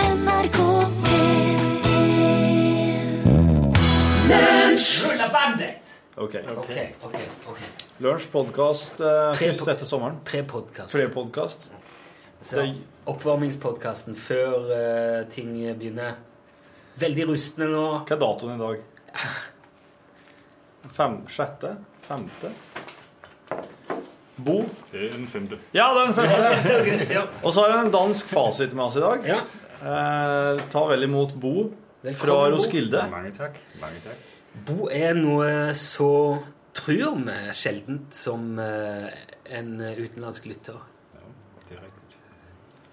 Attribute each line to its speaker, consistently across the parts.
Speaker 1: NRK P1
Speaker 2: Rulla bandet!
Speaker 3: Ok.
Speaker 4: Ok, ok, ok.
Speaker 3: Lunsj, podkast eh, først etter sommeren.
Speaker 4: Pre-podkast.
Speaker 3: Pre-podkast.
Speaker 4: Så Oppvarmingspodkasten før eh, ting begynner. Veldig rustne nå.
Speaker 3: Hva er datoen i dag? Fem, sjette? Femte? Bo?
Speaker 5: Det er den femte.
Speaker 3: Ja, det er den femte!
Speaker 4: August, ja.
Speaker 3: Og så har vi en dansk fasit med oss i dag.
Speaker 4: ja.
Speaker 3: Eh, ta vel imot Bo fra
Speaker 4: Bo.
Speaker 3: Roskilde.
Speaker 5: Mange takk. Mange takk.
Speaker 4: Bo er noe så tror vi sjeldent som eh, en utenlandsk lytter.
Speaker 5: Ja, det er riktig.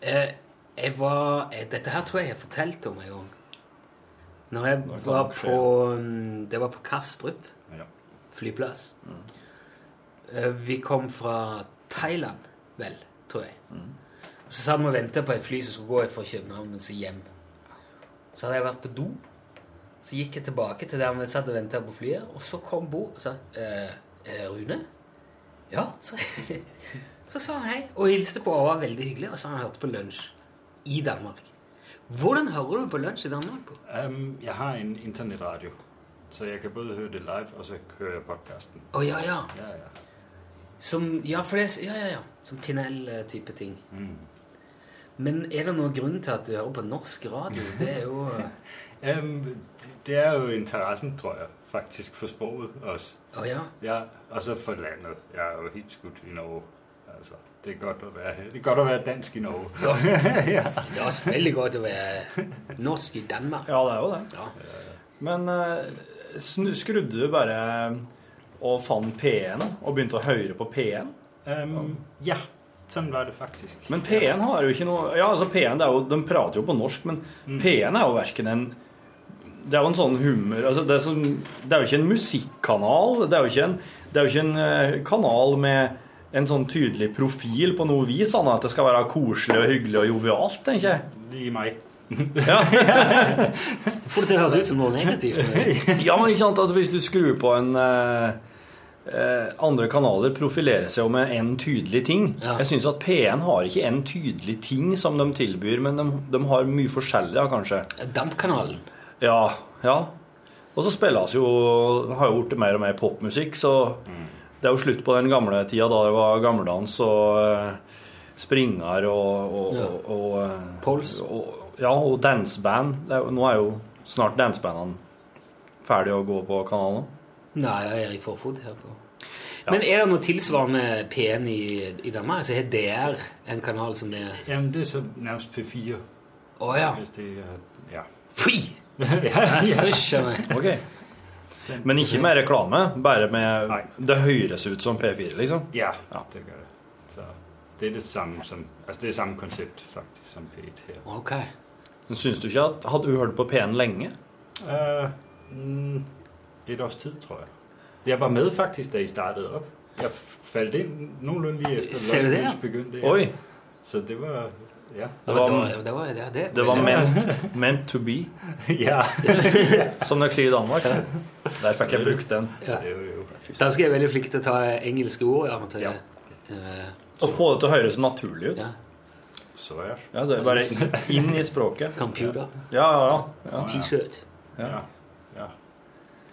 Speaker 4: Eh, jeg var eh, Dette her tror jeg jeg har fortalt om en gang. Når jeg var
Speaker 3: nok skje.
Speaker 4: på mm, Det var på Kastrup.
Speaker 5: Ja. Mm.
Speaker 4: flyplass. Eh, Vi kom fra Thailand, vel, tror jeg.
Speaker 5: Mm.
Speaker 4: Og Så satt vi og ventet på et fly som skulle gå fra København og så hjem. Så hadde jeg vært på do. Så gikk jeg tilbake til der vi satt og ventet på flyet, og så kom Bo og sa eh, eh, Rune? Ja, sa jeg. Så sa han hei, og hilste på og var veldig hyggelig, og sa han hørte på lunsj i Danmark. Hvordan hører du på lunsj i Danmark? Bo?
Speaker 5: Ehm, jeg har en internettradio, så jeg kan både høre det live, og så hører jeg podkasten.
Speaker 4: Å ja, ja.
Speaker 5: Ja, ja.
Speaker 4: Som, ja, for det, er s- ja, ja, ja. Som Pinell-type ting. Men er det noen grunn til at du hører på norsk radio? Det er jo Å
Speaker 5: Ehm, det- det er jo interessen, tror jeg, faktisk, for sproget også.
Speaker 4: ja.
Speaker 5: Ja, og så for landet. Jeg er jo helt skudt i Norge. Altså, det er godt at være, her. det er godt at være dansk i Norge.
Speaker 4: Det er selvfølgelig godt å være norsk i Danmark.
Speaker 3: Ja, det er jo det.
Speaker 4: Ja.
Speaker 3: Men eh, snu, skrudde du bare og fant P1 og begynte å høre på P1?
Speaker 5: Ehm, ja, sånn var det faktisk.
Speaker 3: Men P1 har jo ikke noe Ja, altså P1 det er jo, de prater jo på norsk, men P1 er jo verken en Det er jo en sånn humor altså det, er sånn, det er jo ikke en musikkanal. Det er jo ikke en, det er jo ikke en eh, kanal med en sånn tydelig profil på noe vis, annet enn at det skal være koselig og hyggelig og jovialt, tenker jeg.
Speaker 5: Lige mig.
Speaker 4: For det høres ut som noe negativt. men-
Speaker 3: Ja, men ikke sant at hvis du skrur på en eh, eh, Andre kanaler profilerer seg jo med en tydelig ting.
Speaker 4: Ja.
Speaker 3: Jeg syns at P1 har ikke en tydelig ting som de tilbyr, men de, de har mye forskjellig, ja, kanskje.
Speaker 4: Dampkanalen.
Speaker 3: Ja, ja. Og så spilles jo Har jo blitt mer og mer popmusikk, så
Speaker 4: Mm.
Speaker 3: det er jo slutt på den gamle tida da det var gammeldans og eh, springer og, og,
Speaker 4: Ja.
Speaker 3: og, og eh,
Speaker 4: Pols.
Speaker 3: Og, ja, og danseband. Det er jo- Nå er jo snart dansebandene ferdig å gå på kanalen.
Speaker 4: Nei, jeg er Erik Forfod her på. Men er det noe tilsvarende P1 i, i Danmark? Altså, Så har DR en kanal som det er
Speaker 5: Jamen, det er så nærmest P4,
Speaker 4: Å ja.
Speaker 5: hvis det er... Ja.
Speaker 4: Fy!
Speaker 5: ja, ja.
Speaker 4: Hysj a meg.
Speaker 3: Ok. Men ikke med reklame. Bare med
Speaker 5: Nei.
Speaker 3: Det høres ut som P4, liksom.
Speaker 5: Ja,
Speaker 3: Ja.
Speaker 5: det gør det. Så det er det samme som, altså det er samme koncept faktisk som P1 her.
Speaker 4: Ok.
Speaker 3: Men Syns du ikke at Hadde du hørt på P1 lenge?
Speaker 5: Øh, mm, et års tid, tror jeg. Jeg var med faktisk, da I startede op. Jeg faldt ind nogenlunde lige efter
Speaker 4: Ser du det?
Speaker 5: Løgnhus begyndte.
Speaker 3: Oi!
Speaker 5: Så det var, ja.
Speaker 4: Det
Speaker 3: var-
Speaker 4: var, det var, det var, det
Speaker 3: Det var meant, meant to be.
Speaker 5: ja,
Speaker 3: Som dere sier i Danmark. Der fikk jeg brukt den.
Speaker 4: Ja.
Speaker 5: det var jo.
Speaker 4: Dansker er veldig flinke til å ta engelske ord. Ja, men til,
Speaker 5: Ja.
Speaker 4: eh,
Speaker 3: Å få det til å høres naturlig ut.
Speaker 4: ja.
Speaker 5: Så ja.
Speaker 3: Ja, det er bare inn i språket.
Speaker 4: Computer,
Speaker 3: Ja, ja, ja.
Speaker 4: T-shirt
Speaker 5: Ja, ja.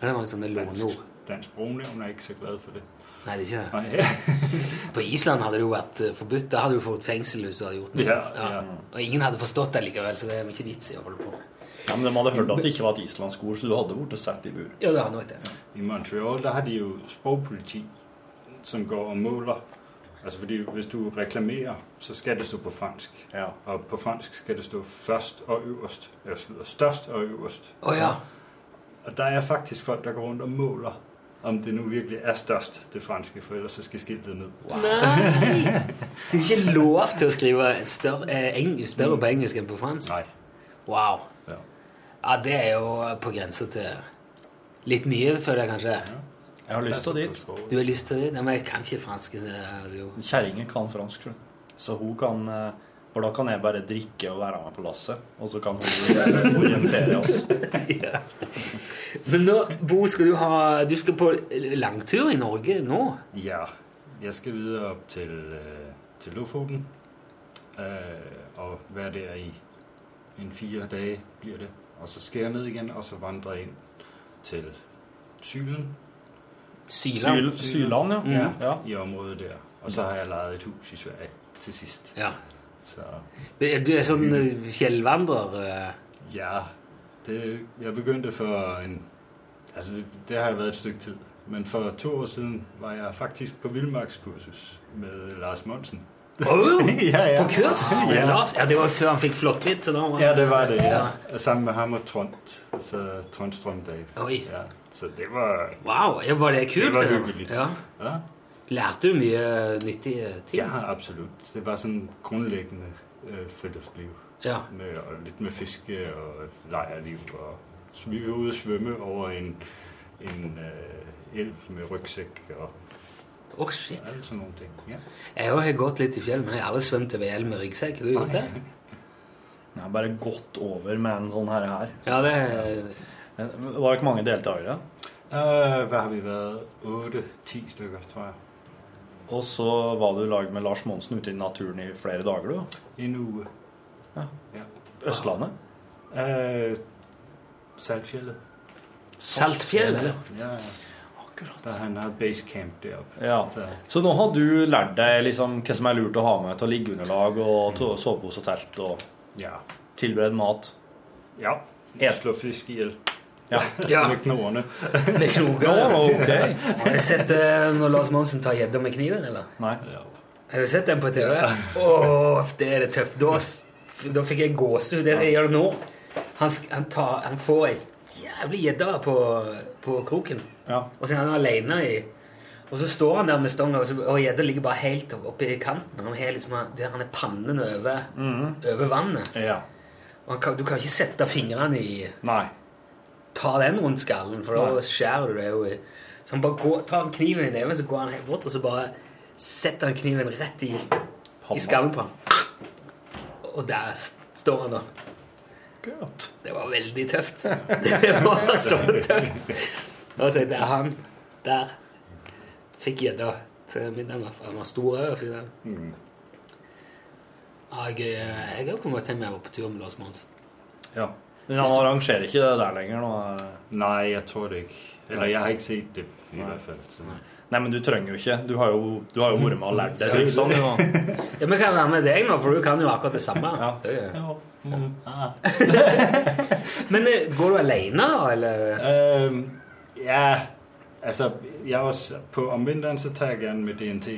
Speaker 4: Det var en sånn låneord.
Speaker 5: Dansk, dansk Sprognævn er ikke så glad for det.
Speaker 4: Nei, det er ikke det.
Speaker 5: Nej, ja.
Speaker 4: På Island hadde det jo vært eh, forbudt. Da hadde du fått fengsel hvis du hadde gjort det.
Speaker 5: Ja, ja.
Speaker 4: Og ingen hadde forstått det likevel, så det er mye vits i å holde på med.
Speaker 3: ja men De hadde hørt at det ikke var et islandsk ord, så du hadde blitt satt i bur.
Speaker 4: Ja, det har nok det.
Speaker 5: I Montreal, der har de jo sprogpoliti, som går og måler. Altså fordi hvis du reklamerer, så skal det stå på fransk.
Speaker 3: Ja.
Speaker 5: Og på fransk skal det stå først og øverst. Eller slutter, størst og øverst.
Speaker 4: Å ja.
Speaker 5: Og der er faktisk folk, der går rundt og måler, om det nu virkelig er størst, det franske, for ellers så skal skiltet ned.
Speaker 4: Nei! Det er ikke lov til å skrive større, eh, eng, større på engelsk enn på fransk.
Speaker 5: Nej.
Speaker 4: Wow.
Speaker 5: Ja.
Speaker 4: Ja, det er jo på grensa til litt mye, føler jeg kanskje.
Speaker 3: Jeg har lyst til dit.
Speaker 4: Du har lyst til det? Nei, men jeg kan ikke fransk. Så jeg hadde jo...
Speaker 3: Kjerringa kan fransk, tror jeg. Så hun kan eh, For da kan jeg bare drikke og være med på lasset, og så kan hun orientere oss.
Speaker 4: ja. Men nå, Bo, skal du ha Du skal på langtur i Norge nå?
Speaker 5: Ja, jeg skal videre op til, øh, til Lofoten øh, og være der i en fire dage bliver det. Og så skal jeg ned igen, og så vandre ind til Sylen
Speaker 4: Syland.
Speaker 3: Syl, Syland, ja.
Speaker 4: Mm.
Speaker 5: ja,
Speaker 3: ja.
Speaker 5: i området der. Og så har jeg lejet et hus i Sverige til sidst.
Speaker 4: Ja.
Speaker 5: Så
Speaker 4: Men er Du er sånn eh, fjellvandrer. eh,
Speaker 5: ja, det, jeg begyndte for en... Altså, det, det har jeg været et stykke tid. Men for to år siden var jeg faktisk på vildmarkskursus med Lars Monsen.
Speaker 4: Åh,
Speaker 5: ja, ja.
Speaker 4: På kurs?
Speaker 5: Ja.
Speaker 4: Ja. Lars, ja, det var jo før han fikk flott litt. Så da var han-
Speaker 5: Ja, det var det, ja. Sammen med ham og Trond. Altså Trond Strømdal.
Speaker 4: Oi.
Speaker 5: Ja, så det var...
Speaker 4: Wow, ja, var det kult?
Speaker 5: Det var
Speaker 4: eller?
Speaker 5: hyggeligt.
Speaker 4: Ja.
Speaker 5: Ja,
Speaker 4: Lærte du mye nyttige ting?
Speaker 5: ja absolut. Det var sådan grundlæggende øh, friluftsliv.
Speaker 4: ja.
Speaker 5: Med, og lidt med fiske og lejerliv. Og, så vi var ude at svømme over en, en øh, elv med rygsæk og
Speaker 4: Åh, shit.
Speaker 5: alle sådan nogle ting. Ja.
Speaker 4: Jeg har jo gått litt i fjell, men jeg har aldri svømt over hjelm med ryggsekk. Har du gjort det?
Speaker 3: Jeg har bare gått over med en sånn herre her.
Speaker 4: Ja, det er
Speaker 3: Var det ikke mange deltakere?
Speaker 5: Øh, hvad har vi været? 8-10 stykker, tror jeg.
Speaker 3: Og så var du i lag med Lars Monsen ute i naturen i flere dager, du.
Speaker 5: En uge.
Speaker 3: Ja.
Speaker 5: ja.
Speaker 3: Østlandet.
Speaker 5: Øh, Saltfjellet.
Speaker 4: Saltfjell, eller?
Speaker 5: Ja, ja. Der han har basecamp deroppe.
Speaker 3: Ja.
Speaker 5: Så,
Speaker 3: Så nå har du lært deg liksom hva som er lurt å ha med til liggeunderlag og to- sovepose og telt og
Speaker 5: ja.
Speaker 3: tilberedt mat.
Speaker 5: Ja.
Speaker 3: Ja.
Speaker 5: Slå fisk ihjel
Speaker 4: Ja,
Speaker 5: med knoerne.
Speaker 4: med
Speaker 3: Ja,
Speaker 4: knoker.
Speaker 3: ok.
Speaker 4: Har du sett eh, når Lars Monsen tar gjedda med kniven, eller?
Speaker 3: Nei.
Speaker 5: Ja.
Speaker 4: Har du sett den på TV? Åh, det er det tøft. Da, s- da fikk jeg gåsehud. Det er det jeg gjør nå. Han, sk- han, tar, han får ei jævlig gjedde på, på kroken.
Speaker 3: Ja.
Speaker 4: Og så er han alene i Og så står han der med stongen, og så- og gjedda ligger bare helt opp- oppe i kanten. Han er, liksom, der han er pannen over, over vannet.
Speaker 3: ja.
Speaker 4: Og han kan, du kan ikke sette fingrene i
Speaker 3: Nei.
Speaker 4: Ta den rundt skallen, for da
Speaker 3: Nei.
Speaker 4: skjærer du deg jo i Så han bare går, tar kniven i neven, så går han helt bort, og så bare setter han kniven rett i, i skallen på ham. Og der s- står han, da.
Speaker 3: Godt.
Speaker 4: Det var veldig tøft. Det var så tøft. Og så der han der fikk gjedda til middag. i hvert fall. Han var stor òg.
Speaker 5: Mm.
Speaker 4: Ja, jeg eh, jeg har kommet til meg var på tur med Lars Monsen.
Speaker 3: Ja. Men han arrangerer ikke det der lenger nå.
Speaker 5: Nej, jeg tror det ikke. Eller jeg har ikke set det i hvert fald. Så.
Speaker 3: Nei, men du trenger jo ikke. Du har jo, du har jo vært med og lært deg liksom. triksene. jo.
Speaker 4: Ja, men kan jeg være med deg nå, for du kan jo akkurat det samme.
Speaker 3: Ja.
Speaker 4: Det er-
Speaker 5: Ja. Mm. Ah.
Speaker 4: Men eh, går du alene, eller?
Speaker 5: Øhm, ehm, ja, altså jeg er også, på, om vinteren så tager jeg gerne med DNT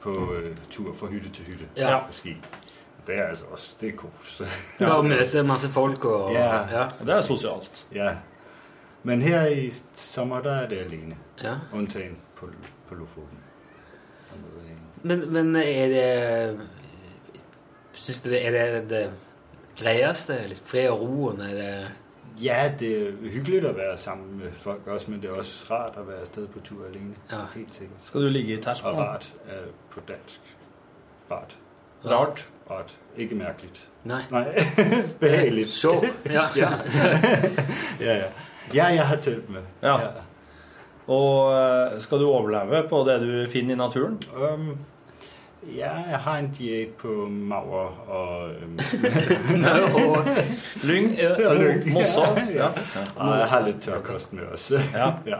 Speaker 5: på øh, tur fra hytte til hytte.
Speaker 4: Ja.
Speaker 5: På ski. Det er altså også, det er kos.
Speaker 4: Du bare møter masse folk og
Speaker 5: Ja.
Speaker 4: Ja.
Speaker 3: Det er sosialt.
Speaker 5: ja. Men her i sommer, der er det alene.
Speaker 4: ja.
Speaker 5: Undtagen på, på Lofoten. Der møder jeg en.
Speaker 4: Men, men eh, er det Syns du det er det, det greieste? Liksom fred og roen? Er det
Speaker 5: Ja, det er hyggeligt at være sammen med folk også, men det er også rart at være afsted på tur alene.
Speaker 4: Ja.
Speaker 5: Helt sikkert.
Speaker 3: Skal du ligge i telt
Speaker 5: Og
Speaker 3: nå?
Speaker 5: rart er på dansk. Rart.
Speaker 3: Rart.
Speaker 5: Rart. Ikke mærkeligt.
Speaker 4: Nei.
Speaker 5: Nej, behageligt.
Speaker 4: Show. Ja. ja.
Speaker 5: Ja, ja. Ja, jeg har telt med.
Speaker 3: Ja. Og eh, skal du overleve på det du finner i naturen?
Speaker 5: Um, ja, jeg har en diæt på maver og, øhm,
Speaker 4: Og
Speaker 3: Lyng,
Speaker 5: og
Speaker 3: ro,
Speaker 5: lyng.
Speaker 3: mossa.
Speaker 5: Ja. og jeg har lidt tørkost med også.
Speaker 3: Ja.
Speaker 5: ja.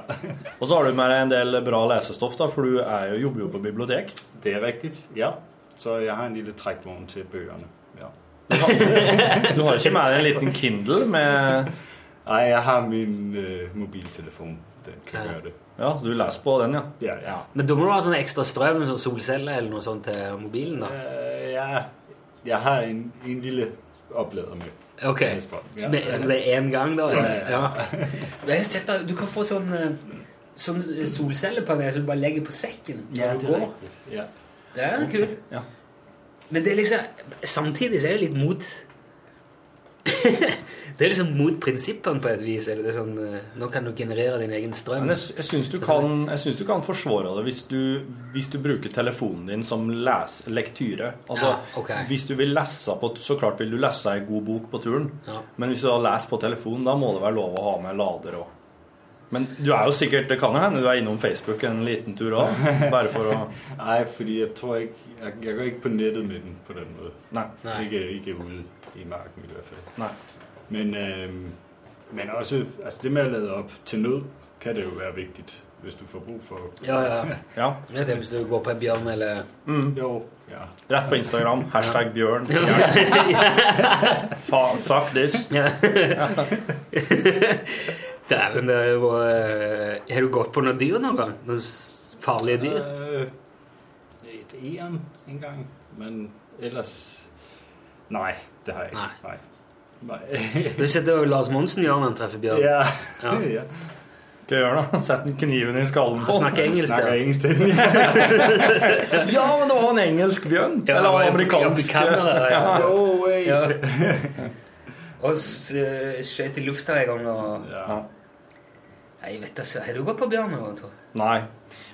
Speaker 3: Og så har du med deg en del bra lesestoff, da, for du er jo, jobber jo på bibliotek.
Speaker 5: Det er rigtigt, ja. Så jeg har en lille trækvogn til bøgerne. Ja.
Speaker 3: Du har ikke med deg en liten Kindle med
Speaker 5: Ej, jeg har min øh, mobiltelefon. Den kan
Speaker 4: Ja.
Speaker 5: gøre det.
Speaker 3: Ja, du leser på den, ja.
Speaker 5: Ja, ja.
Speaker 4: Men da må du ha sånn ekstra strøm, sånn solceller eller noe sånt til mobilen, da.
Speaker 5: Øh, ja. Jeg har en, en lille oplader med.
Speaker 4: Ok.
Speaker 5: Ja.
Speaker 4: Som det, som det er én gang, da? Eller? Ja. Men jeg har sett da, Du kan få sånn eh, Sånn solcellepanel som du bare legger på sekken når du går.
Speaker 5: rigtigt. Ja.
Speaker 4: Det er kult.
Speaker 3: Ja.
Speaker 4: Men det er liksom Samtidig så er det litt mot Det er liksom mot prinsippene på et vis. Eller det er sånn eh, Nå kan du generere din egen strøm.
Speaker 3: Men jeg, sy- jeg syns du kan, jeg syns du kan forsvare det hvis du, hvis du bruker telefonen din som les, lektyre. Altså,
Speaker 4: Ja, ok.
Speaker 3: Hvis du vil lese på Så klart vil du lese ei god bok på turen,
Speaker 4: Ja.
Speaker 3: men hvis du da leser på telefonen, da må det være lov å ha med lader og Men du er jo sikkert, det kan jo hende du er innom Facebook en liten tur òg. Bare for å
Speaker 5: Nej, fordi jeg tror ikke, jeg, jeg går ikke på nettet med den på den måde.
Speaker 3: Nei.
Speaker 4: Nei.
Speaker 5: Ikke, ikke ude i marken i hvert fald.
Speaker 3: nei.
Speaker 5: Men, øhm, men også, altså det med at lade op til nød, kan det jo være vigtigt, hvis du får brug for...
Speaker 4: Ja, ja.
Speaker 3: Ja.
Speaker 4: Jeg tenkte hvis du går på en bjørn eller
Speaker 3: Mm.
Speaker 5: Jo, ja.
Speaker 3: Rett på Instagram. Hashtag bjørn. Fa fuck this.
Speaker 4: Ja. Dæven, det er jo eh, Har du gått på noen dyr noen gang? Noen s- farlige dyr?
Speaker 5: Øh, et æren engang, men ellers... Nej, det har jeg ikke.
Speaker 4: Nej.
Speaker 5: Nej. Nej.
Speaker 4: Du sitter jo i Lars Monsen gjør når han treffer bjørn.
Speaker 5: ja.
Speaker 4: Ja.
Speaker 5: ja.
Speaker 3: Hva gjør du? Sett den kniven i skallen på
Speaker 4: Han snakker engelsk.
Speaker 5: Snakker
Speaker 4: der.
Speaker 5: engelsk til den.
Speaker 3: Ja, men det var en engelsk bjørn.
Speaker 4: Ja, det
Speaker 3: Eller
Speaker 4: var en
Speaker 3: amerikansk.
Speaker 4: amerikaner, det, ja.
Speaker 5: Go away!
Speaker 4: Ja. Og s- eh, skjøt i lufta en gang og
Speaker 5: Ja.
Speaker 4: Nei, Jeg vet ikke. Har du gått på bjørn noen gang, Tor?
Speaker 3: Nei.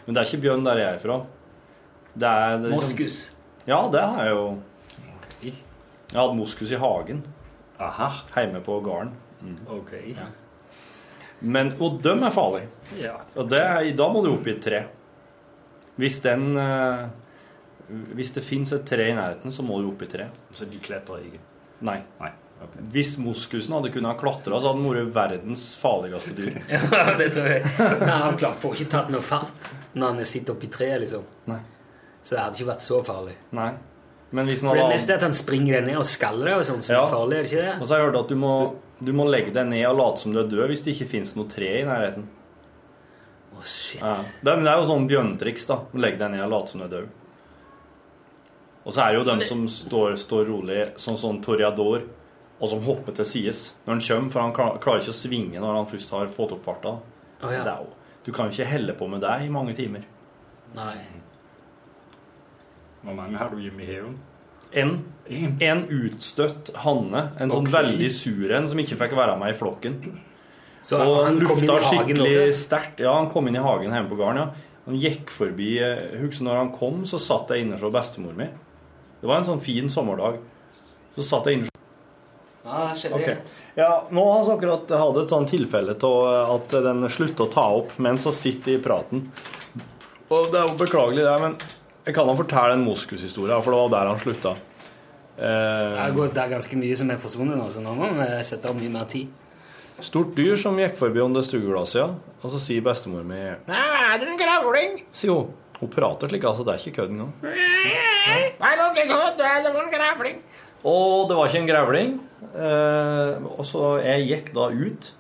Speaker 3: Men det er ikke bjørn der jeg er fra. Det er, det er liksom-
Speaker 4: Moskus.
Speaker 3: Ja, det har jeg jo. Jeg hadde moskus i hagen
Speaker 5: Aha,
Speaker 3: hjemme på gården.
Speaker 5: okay.
Speaker 4: Ja.
Speaker 3: Men, og dem er farlige.
Speaker 5: Ja.
Speaker 3: Og det, er- da må du opp i et tre. Hvis den eh, Hvis det fins et tre i nærheten, så må du opp i tre.
Speaker 5: Så de klatrer ikke?
Speaker 3: Nei.
Speaker 5: Nej. Okay.
Speaker 3: Hvis moskusen hadde kunnet klatre, så hadde den vært verdens farligste dyr.
Speaker 4: Ja, det tror jeg. Nei, Han klarte på å ikke tatt noe fart når han sitter oppi treet, liksom.
Speaker 3: Nei.
Speaker 4: Så det hadde ikke vært så farlig.
Speaker 3: Nei. Men hvis den
Speaker 4: For det
Speaker 3: hadde
Speaker 4: meste er at han springer deg ned og skaller deg og sånn, som
Speaker 3: Ja.
Speaker 4: er farlig, er det ikke det?
Speaker 3: Og så har jeg hørt at du må, du må legge deg ned og late som du er død hvis det ikke fins noe tre i nærheten.
Speaker 4: Å, shit.
Speaker 3: Ja. Det, er, men det er jo sånn bjørnetriks, da. Legge deg ned og late som du er død. Og så er det jo dem som står, står rolig, sånn sånn toreador, og som hopper til sides når han kommer, for han klar, klarer ikke å svinge når han først har fått opp farta.
Speaker 4: Å, ja.
Speaker 3: Det er jo, du kan jo ikke helle på med deg i mange timer.
Speaker 4: Nei.
Speaker 5: Hvor mange har du hjemme i haven?
Speaker 3: En,
Speaker 5: En.
Speaker 3: en utstøtt hanne, en sånn
Speaker 5: Ok.
Speaker 3: veldig sur en som ikke fikk være med i flokken.
Speaker 4: Så
Speaker 3: Og
Speaker 4: kom
Speaker 3: han
Speaker 4: inn i
Speaker 3: lufta
Speaker 4: hagen nå,
Speaker 3: skikkelig
Speaker 4: ja.
Speaker 3: sterkt. Ja, han kom inn i hagen hjemme på gården. Ja. Han gikk forbi eh, Husker når han kom, så satt jeg inne hos bestemor mi. Det var en sånn fin sommerdag. Så satt jeg inne
Speaker 4: Ja, det skjedde
Speaker 3: Ok.
Speaker 4: det.
Speaker 3: Ja, nå har vi akkurat hatt et sånt tilfelle til at den slutta å ta opp mens hun sitter i praten. Og det er jo beklagelig, det, men jeg kan da fortelle en moskushistorie, for det var der han slutta.
Speaker 4: Det
Speaker 3: Eh,
Speaker 4: er gått- det er ganske mye som er forsvunnet nå, så nå må vi sette av mye mer tid.
Speaker 3: Stort dyr som gikk forbi under stueglasset, ja. Og så sier bestemor mi Nei, er det en gravling? Sier hun. Hun prater slik, altså. Det er ikke kødd engang. Nei, nå skal jeg se, det er en gravling. Og det var ikke en grevling. Eh, og så jeg gikk da ut,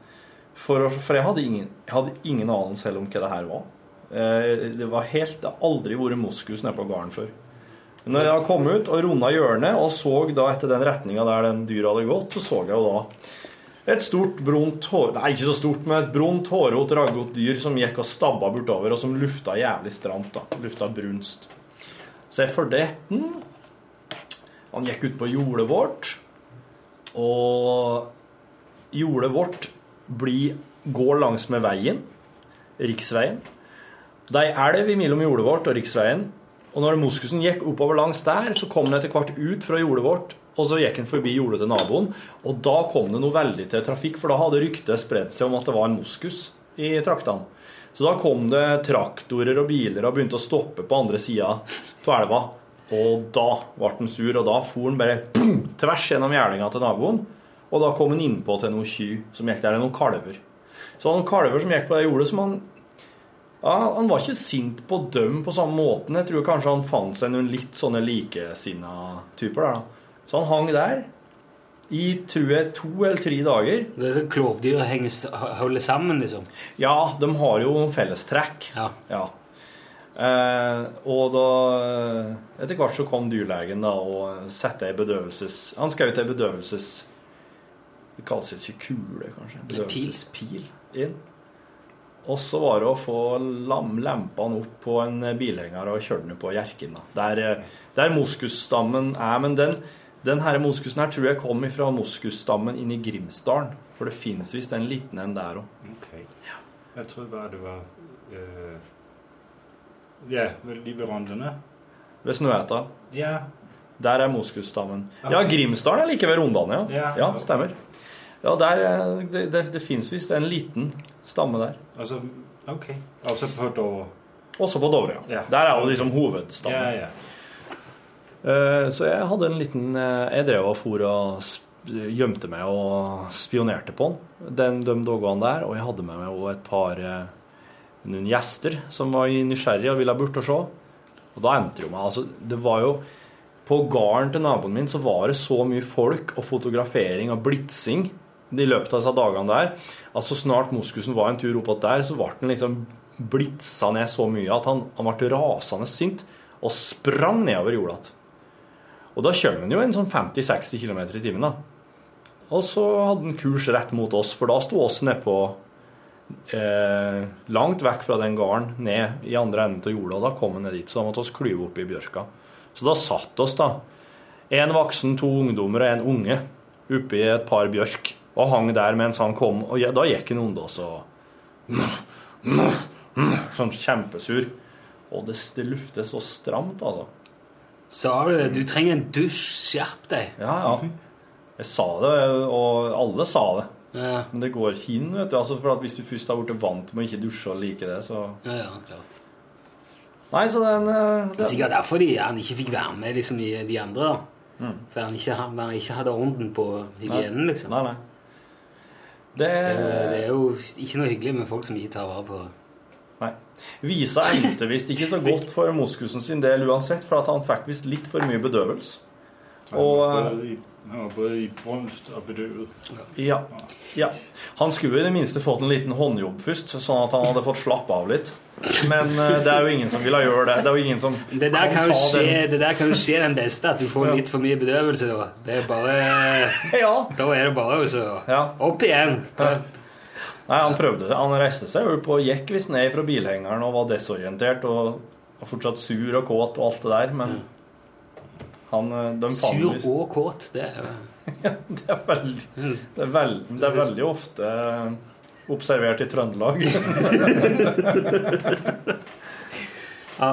Speaker 3: for, å- for jeg, hadde ingen, jeg hadde ingen anelse heller om hva det her var. Eh, det var helt, det har aldri vært moskus nede på gården før. Men Når jeg kom ut og runda hjørnet og så da etter den retninga der den dyra hadde gått, så så jeg jo da et stort, brunt hår... Nei, ikke så stort, men et brunt, hårrot, raggott dyr som gikk og stabba bortover, og som lufta jævlig stramt. da. Lufta brunst. Så jeg fulgte etter den. Han gikk ut på jordet vårt. Og jordet vårt blir, går langs med veien, riksveien. Det er ei elv imellom jordet vårt og riksveien. Og når moskusen gikk oppover langs der, så kom den etter hvert ut fra jordet vårt. Og så gikk den forbi jordet til naboen, og da kom det noe veldig til trafikk. For da hadde ryktet spredt seg om at det var en moskus i traktene. Så da kom det traktorer og biler og begynte å stoppe på andre sida av elva. Og da ble han sur, og da for han bare boom, tvers gjennom gjerninga til naboen. Og da kom han innpå til noen ky som gikk der, det er noen kalver. Så noen kalver som gikk på det jordet, som han ja, Han var ikke sint på dem på samme måten. Jeg tror kanskje han fant seg noen litt sånne likesinna typer. da. Så han hang der i tror jeg to eller tre dager.
Speaker 4: Det er sånn klovdyr henger s- holder sammen, liksom.
Speaker 3: Ja, de har jo fellestrekk.
Speaker 4: Ja.
Speaker 3: Ja. Eh, og da eh, Etter hvert så kom dyrlegen da og satte ei bedøvelses... Han skjøt ei bedøvelses... Det kalles ikke kule, kanskje?
Speaker 4: Eller pil.
Speaker 3: Bedøvelsespil inn. Og så var det å få lam, lempa han opp på en bilhenger og kjøre den på Hjerkinn. da. Der, eh, der moskusstammen er. Men den, den her moskusen her tror jeg kom ifra moskusstammen inne i Grimsdalen. For det fins visst en liten en der òg.
Speaker 5: Okay. Jeg troede bare, det var... Øh... Ja, vel, lige ved ronderne.
Speaker 3: Ved Snøhetta.
Speaker 5: Ja,
Speaker 3: Der er moskusstammen.
Speaker 5: Ja.
Speaker 3: Ja, Grimsdalen er like ved Rondane, ja.
Speaker 5: Ja.
Speaker 3: Ja, stemmer. Ja, der, eh, det, det, det fins visst en liten stamme der.
Speaker 5: Og så, okay. Og så på Dover.
Speaker 3: Også på Dovre.
Speaker 5: Ja.
Speaker 3: Der er jo liksom hovedstammen.
Speaker 5: Ja, ja.
Speaker 3: Eh, Så jeg hadde en liten eh, Jeg drev og for og sp- gjemte meg og spionerte på han den, de dagene der. Og jeg hadde med meg også et par eh, noen gjester som var nysgjerrige og ville bort og se. Og da endte det jo meg. Altså, det var jo På gården til naboen min så var det så mye folk og fotografering og blitsing i løpet av disse dagene der at så snart moskusen var en tur oppåt der, så ble den liksom blitsa ned så mye at han, han ble rasende sint og sprang nedover jorda igjen. Og da kommer han jo en sånn 50-60 km i timen, da. Og så hadde han kurs rett mot oss, for da sto oss nedpå eh, langt vekk fra den gården, ned i andre enden av jorda. Da kom han ned dit, så da måtte oss klyve opp i bjørka. Så da satt oss, da, en voksen, to ungdommer og en unge, oppi et par bjørk og hang der mens han kom. Og ja, da gikk han unna oss og Sånn kjempesur. Og det, det luftes så stramt, altså.
Speaker 4: Sa du du trenger en dusj? Skjerp deg.
Speaker 3: Ja, ja. Jeg sa det, og alle sa det.
Speaker 4: Ja,
Speaker 3: Men det går ikke inn, vet du. Altså, for at hvis du først har blitt vant med å ikke dusje og like det, så
Speaker 4: ja, ja klart.
Speaker 3: Nei, så den eh,
Speaker 4: Det er
Speaker 3: det-
Speaker 4: sikkert derfor de, han ikke fikk være med liksom, de, de andre. da. For han ikke, han han ikke hadde orden på hygienen, liksom.
Speaker 3: Mm. Nei, nei. Det,
Speaker 4: Det, det er jo ikke noe hyggelig med folk som ikke tar vare på
Speaker 3: Nei. Visa endte visst ikke så godt for moskusen sin del uansett, for at han fikk visst litt for mye bedøvelse.
Speaker 5: Han var
Speaker 3: Og, eh,
Speaker 5: både i- han var både i brunst og bedøvet.
Speaker 3: Ja. ja. Han skulle i det minste fått en liten håndjobb først, sånn at han hadde fått slappe av litt. Men eh, det er jo ingen som ville gjøre det. Det er jo ingen som
Speaker 4: Det der kan jo
Speaker 3: ta den-
Speaker 4: skje, det der kan jo skje den beste, at du får litt for mye bedøvelse da. Det er bare
Speaker 3: Ja.
Speaker 4: Da er det bare å så
Speaker 3: Ja.
Speaker 4: opp igjen.
Speaker 3: Nei, han prøvde det. Han reiste seg opp og gikk visst ned fra bilhengeren og var desorientert og og fortsatt sur og kåt og alt det der, men han eh, de fant
Speaker 4: Mm. Sur
Speaker 3: visst-
Speaker 4: og kåt. Mm. Det er jo
Speaker 3: Det er veldig, det er veldig, det er veldig ofte eh, observert i Trøndelag.
Speaker 4: Ja,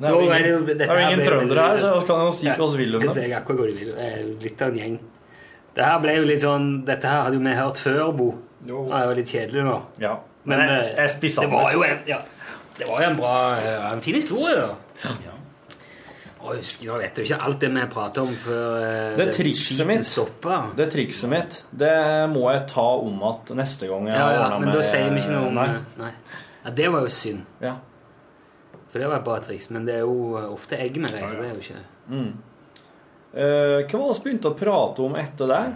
Speaker 3: Det er jo
Speaker 4: Nå er det jo-
Speaker 3: ingen,
Speaker 4: dette
Speaker 3: det er jo
Speaker 4: her
Speaker 3: ingen
Speaker 4: ble-
Speaker 3: trøndere her, så vi kan jo si hva vi vil om
Speaker 4: kan
Speaker 3: det.
Speaker 4: si akkurat hva de vil. Eh, Litt av en gjeng. Det her ble jo litt sånn Dette her hadde jo vi hørt før, Bo.
Speaker 5: Jo.
Speaker 4: Det er jo litt kjedelig nå.
Speaker 3: Ja.
Speaker 4: Men
Speaker 3: Men jeg,
Speaker 4: eh,
Speaker 3: jeg spissa
Speaker 4: det var jo en, ja, det var jo en bra eh, En fin historie, da. Og husk, nå vet du ikke alt det vi prater om før eh,
Speaker 3: Det trikset
Speaker 4: skiten
Speaker 3: mitt.
Speaker 4: stopper.
Speaker 3: Det trikset mitt, det må jeg ta om at neste gang jeg
Speaker 4: Ja, ja,
Speaker 3: ordnet
Speaker 4: men da sier vi ikke noe om
Speaker 3: Nei.
Speaker 4: Nei. Ja, Det var jo synd,
Speaker 3: Ja.
Speaker 4: for det var et bra triks. Men det er jo eh, ofte egg med deg, så det er jo ikke
Speaker 3: Eh, hva var det vi begynte å prate om etter det?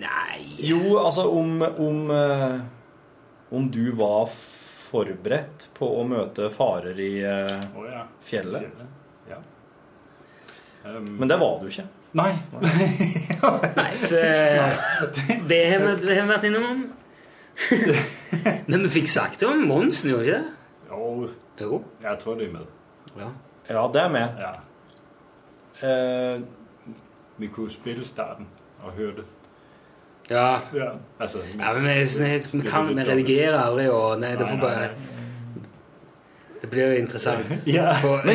Speaker 4: Nei
Speaker 3: Jo, altså om, om, eh, om du var forberedt på å møte farer i eh,
Speaker 5: Å ja.
Speaker 3: fjellet.
Speaker 5: Fjellet. Ja. Øhm,
Speaker 3: Men det var du ikke.
Speaker 5: nei.
Speaker 4: Nei, så eh, Det har vi, det har vi vært innom. Men vi fikk sagt det om Monsen, gjorde vi ikke det?
Speaker 5: Jo,
Speaker 4: Jo.
Speaker 5: jeg tror det er med.
Speaker 4: Ja.
Speaker 3: Ja, det er med.
Speaker 5: Ja.
Speaker 3: Eh,
Speaker 5: Vi kunne spille starten og høre det.
Speaker 4: ja.
Speaker 5: Ja. Altså,
Speaker 4: ja men øh, vi, vi, vi, kan, vi redigerer aldri, og Nei, det får bare Det blir interessant.
Speaker 5: Ja.
Speaker 4: For-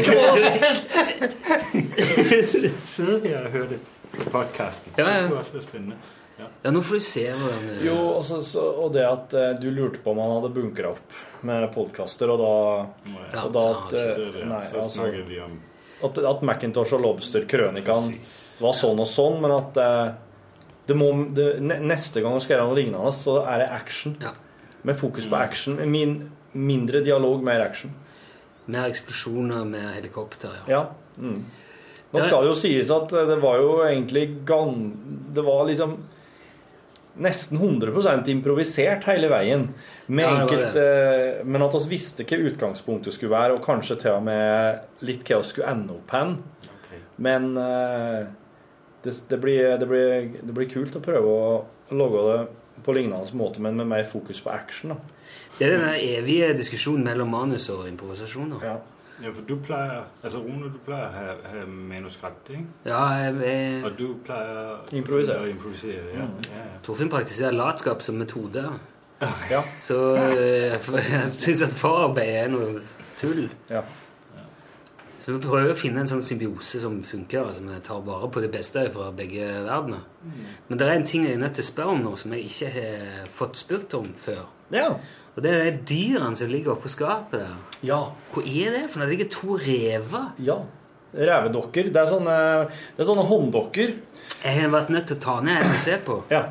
Speaker 5: Sidde her og høre det på podcasten.
Speaker 4: Ja, ja.
Speaker 5: Det kunne også være spændende.
Speaker 4: Ja, nå får du se hvordan eh, det
Speaker 3: jo, og, så, så, og det at eh, du lurte på om han hadde bunkra opp med podkaster, og da,
Speaker 5: Nå er
Speaker 4: Ja,
Speaker 3: og da
Speaker 4: så
Speaker 3: at,
Speaker 4: har
Speaker 5: det
Speaker 3: eh,
Speaker 5: der.
Speaker 3: nei,
Speaker 5: så
Speaker 3: altså,
Speaker 5: snakker vi om
Speaker 3: at, at Macintosh og Lobster-krønikaen
Speaker 5: Præcis.
Speaker 3: var sånn og sånn, men at eh, det må, det, ne- neste gang du skal gjøre noe lignende, så er det action.
Speaker 4: Ja.
Speaker 3: Med fokus på action. Min, mindre dialog, mer action.
Speaker 4: Mer eksplosjoner, mer helikopter, ja.
Speaker 3: Ja. Mm. Nå skal det jo sies at eh, det var jo egentlig gan... Det var liksom nesten 100 improvisert hele veien. Med
Speaker 4: Ja, det var
Speaker 3: enkelt, eh, men at vi visste hva utgangspunktet skulle være, og kanskje til og med litt hva vi skulle ende opp hen.
Speaker 5: okay.
Speaker 3: Men eh, det, det, blir, det, blir, det blir kult å prøve å lage det på lignende måte, men med mer fokus på action. Da.
Speaker 4: Det er den der evige diskusjonen mellom manus og improvisasjon. da.
Speaker 3: Ja.
Speaker 5: Ja, for du plejer, altså Rune, du plejer at have, have manuskript, ikke?
Speaker 4: Ja, jeg, jeg,
Speaker 5: Og du plejer
Speaker 3: Improvisere. Mm.
Speaker 5: at improvisere, ja. ja, ja.
Speaker 4: Torfinn praktiserer latskap som metode.
Speaker 3: Ja.
Speaker 4: Så eh, for jeg syns at forarbeid er noe tull.
Speaker 3: Ja.
Speaker 4: Så vi prøver å finne en sånn symbiose som funker, altså vi tar vare på det beste fra begge verdener. Men det er en ting jeg er nødt til å spørre om nå, som jeg ikke har fått spurt om før.
Speaker 3: Ja.
Speaker 4: Og det er de dyrene som ligger oppå skapet der.
Speaker 3: ja.
Speaker 4: Hva er det? For det ligger to rever.
Speaker 3: Ja. Revedokker. Det er sånne, det er sånne hånddokker.
Speaker 4: Jeg har vært nødt til å ta ned en og se på.
Speaker 3: Ja.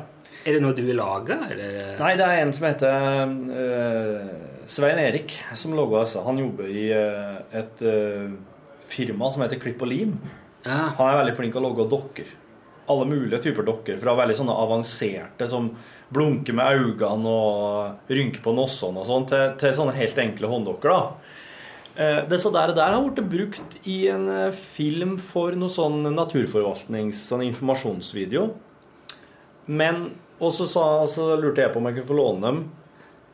Speaker 4: Er det noe du har laga?
Speaker 3: Nei, det er en som heter eh, Svein Erik, som laga disse. Han jobber i eh, et eh, firma som heter Klipp og Lim.
Speaker 4: Ja.
Speaker 3: Han er veldig flink til å lage dokker. Alle mulige typer dokker. Fra veldig sånne avanserte som blunker med øynene og rynker på nossene og sånn, til, til sånne helt enkle hånddokker. da. Eh, Det så der, der har blitt brukt i en eh, film for noe sånn naturforvaltnings... Sånn informasjonsvideo. Men Og så sa- og så lurte jeg på om jeg kunne få låne dem.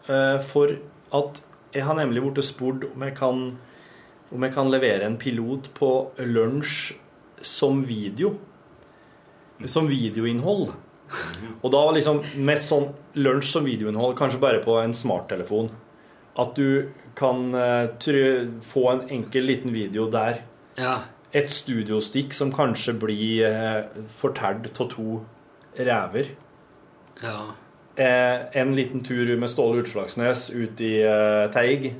Speaker 3: eh, For at jeg har nemlig blitt spurt om jeg kan om jeg kan levere en pilot på lunsj som video. Som videoinnhold. Og da var liksom mest sånn lunsj som videoinnhold, kanskje bare på en smarttelefon. At du kan eh, try- få en enkel liten video der.
Speaker 4: ja.
Speaker 3: Et studiostikk som kanskje blir eh, fortalt av to rever.
Speaker 4: ja.
Speaker 3: Eh, en liten tur med Ståle Utslagsnes ut i eh, Teig.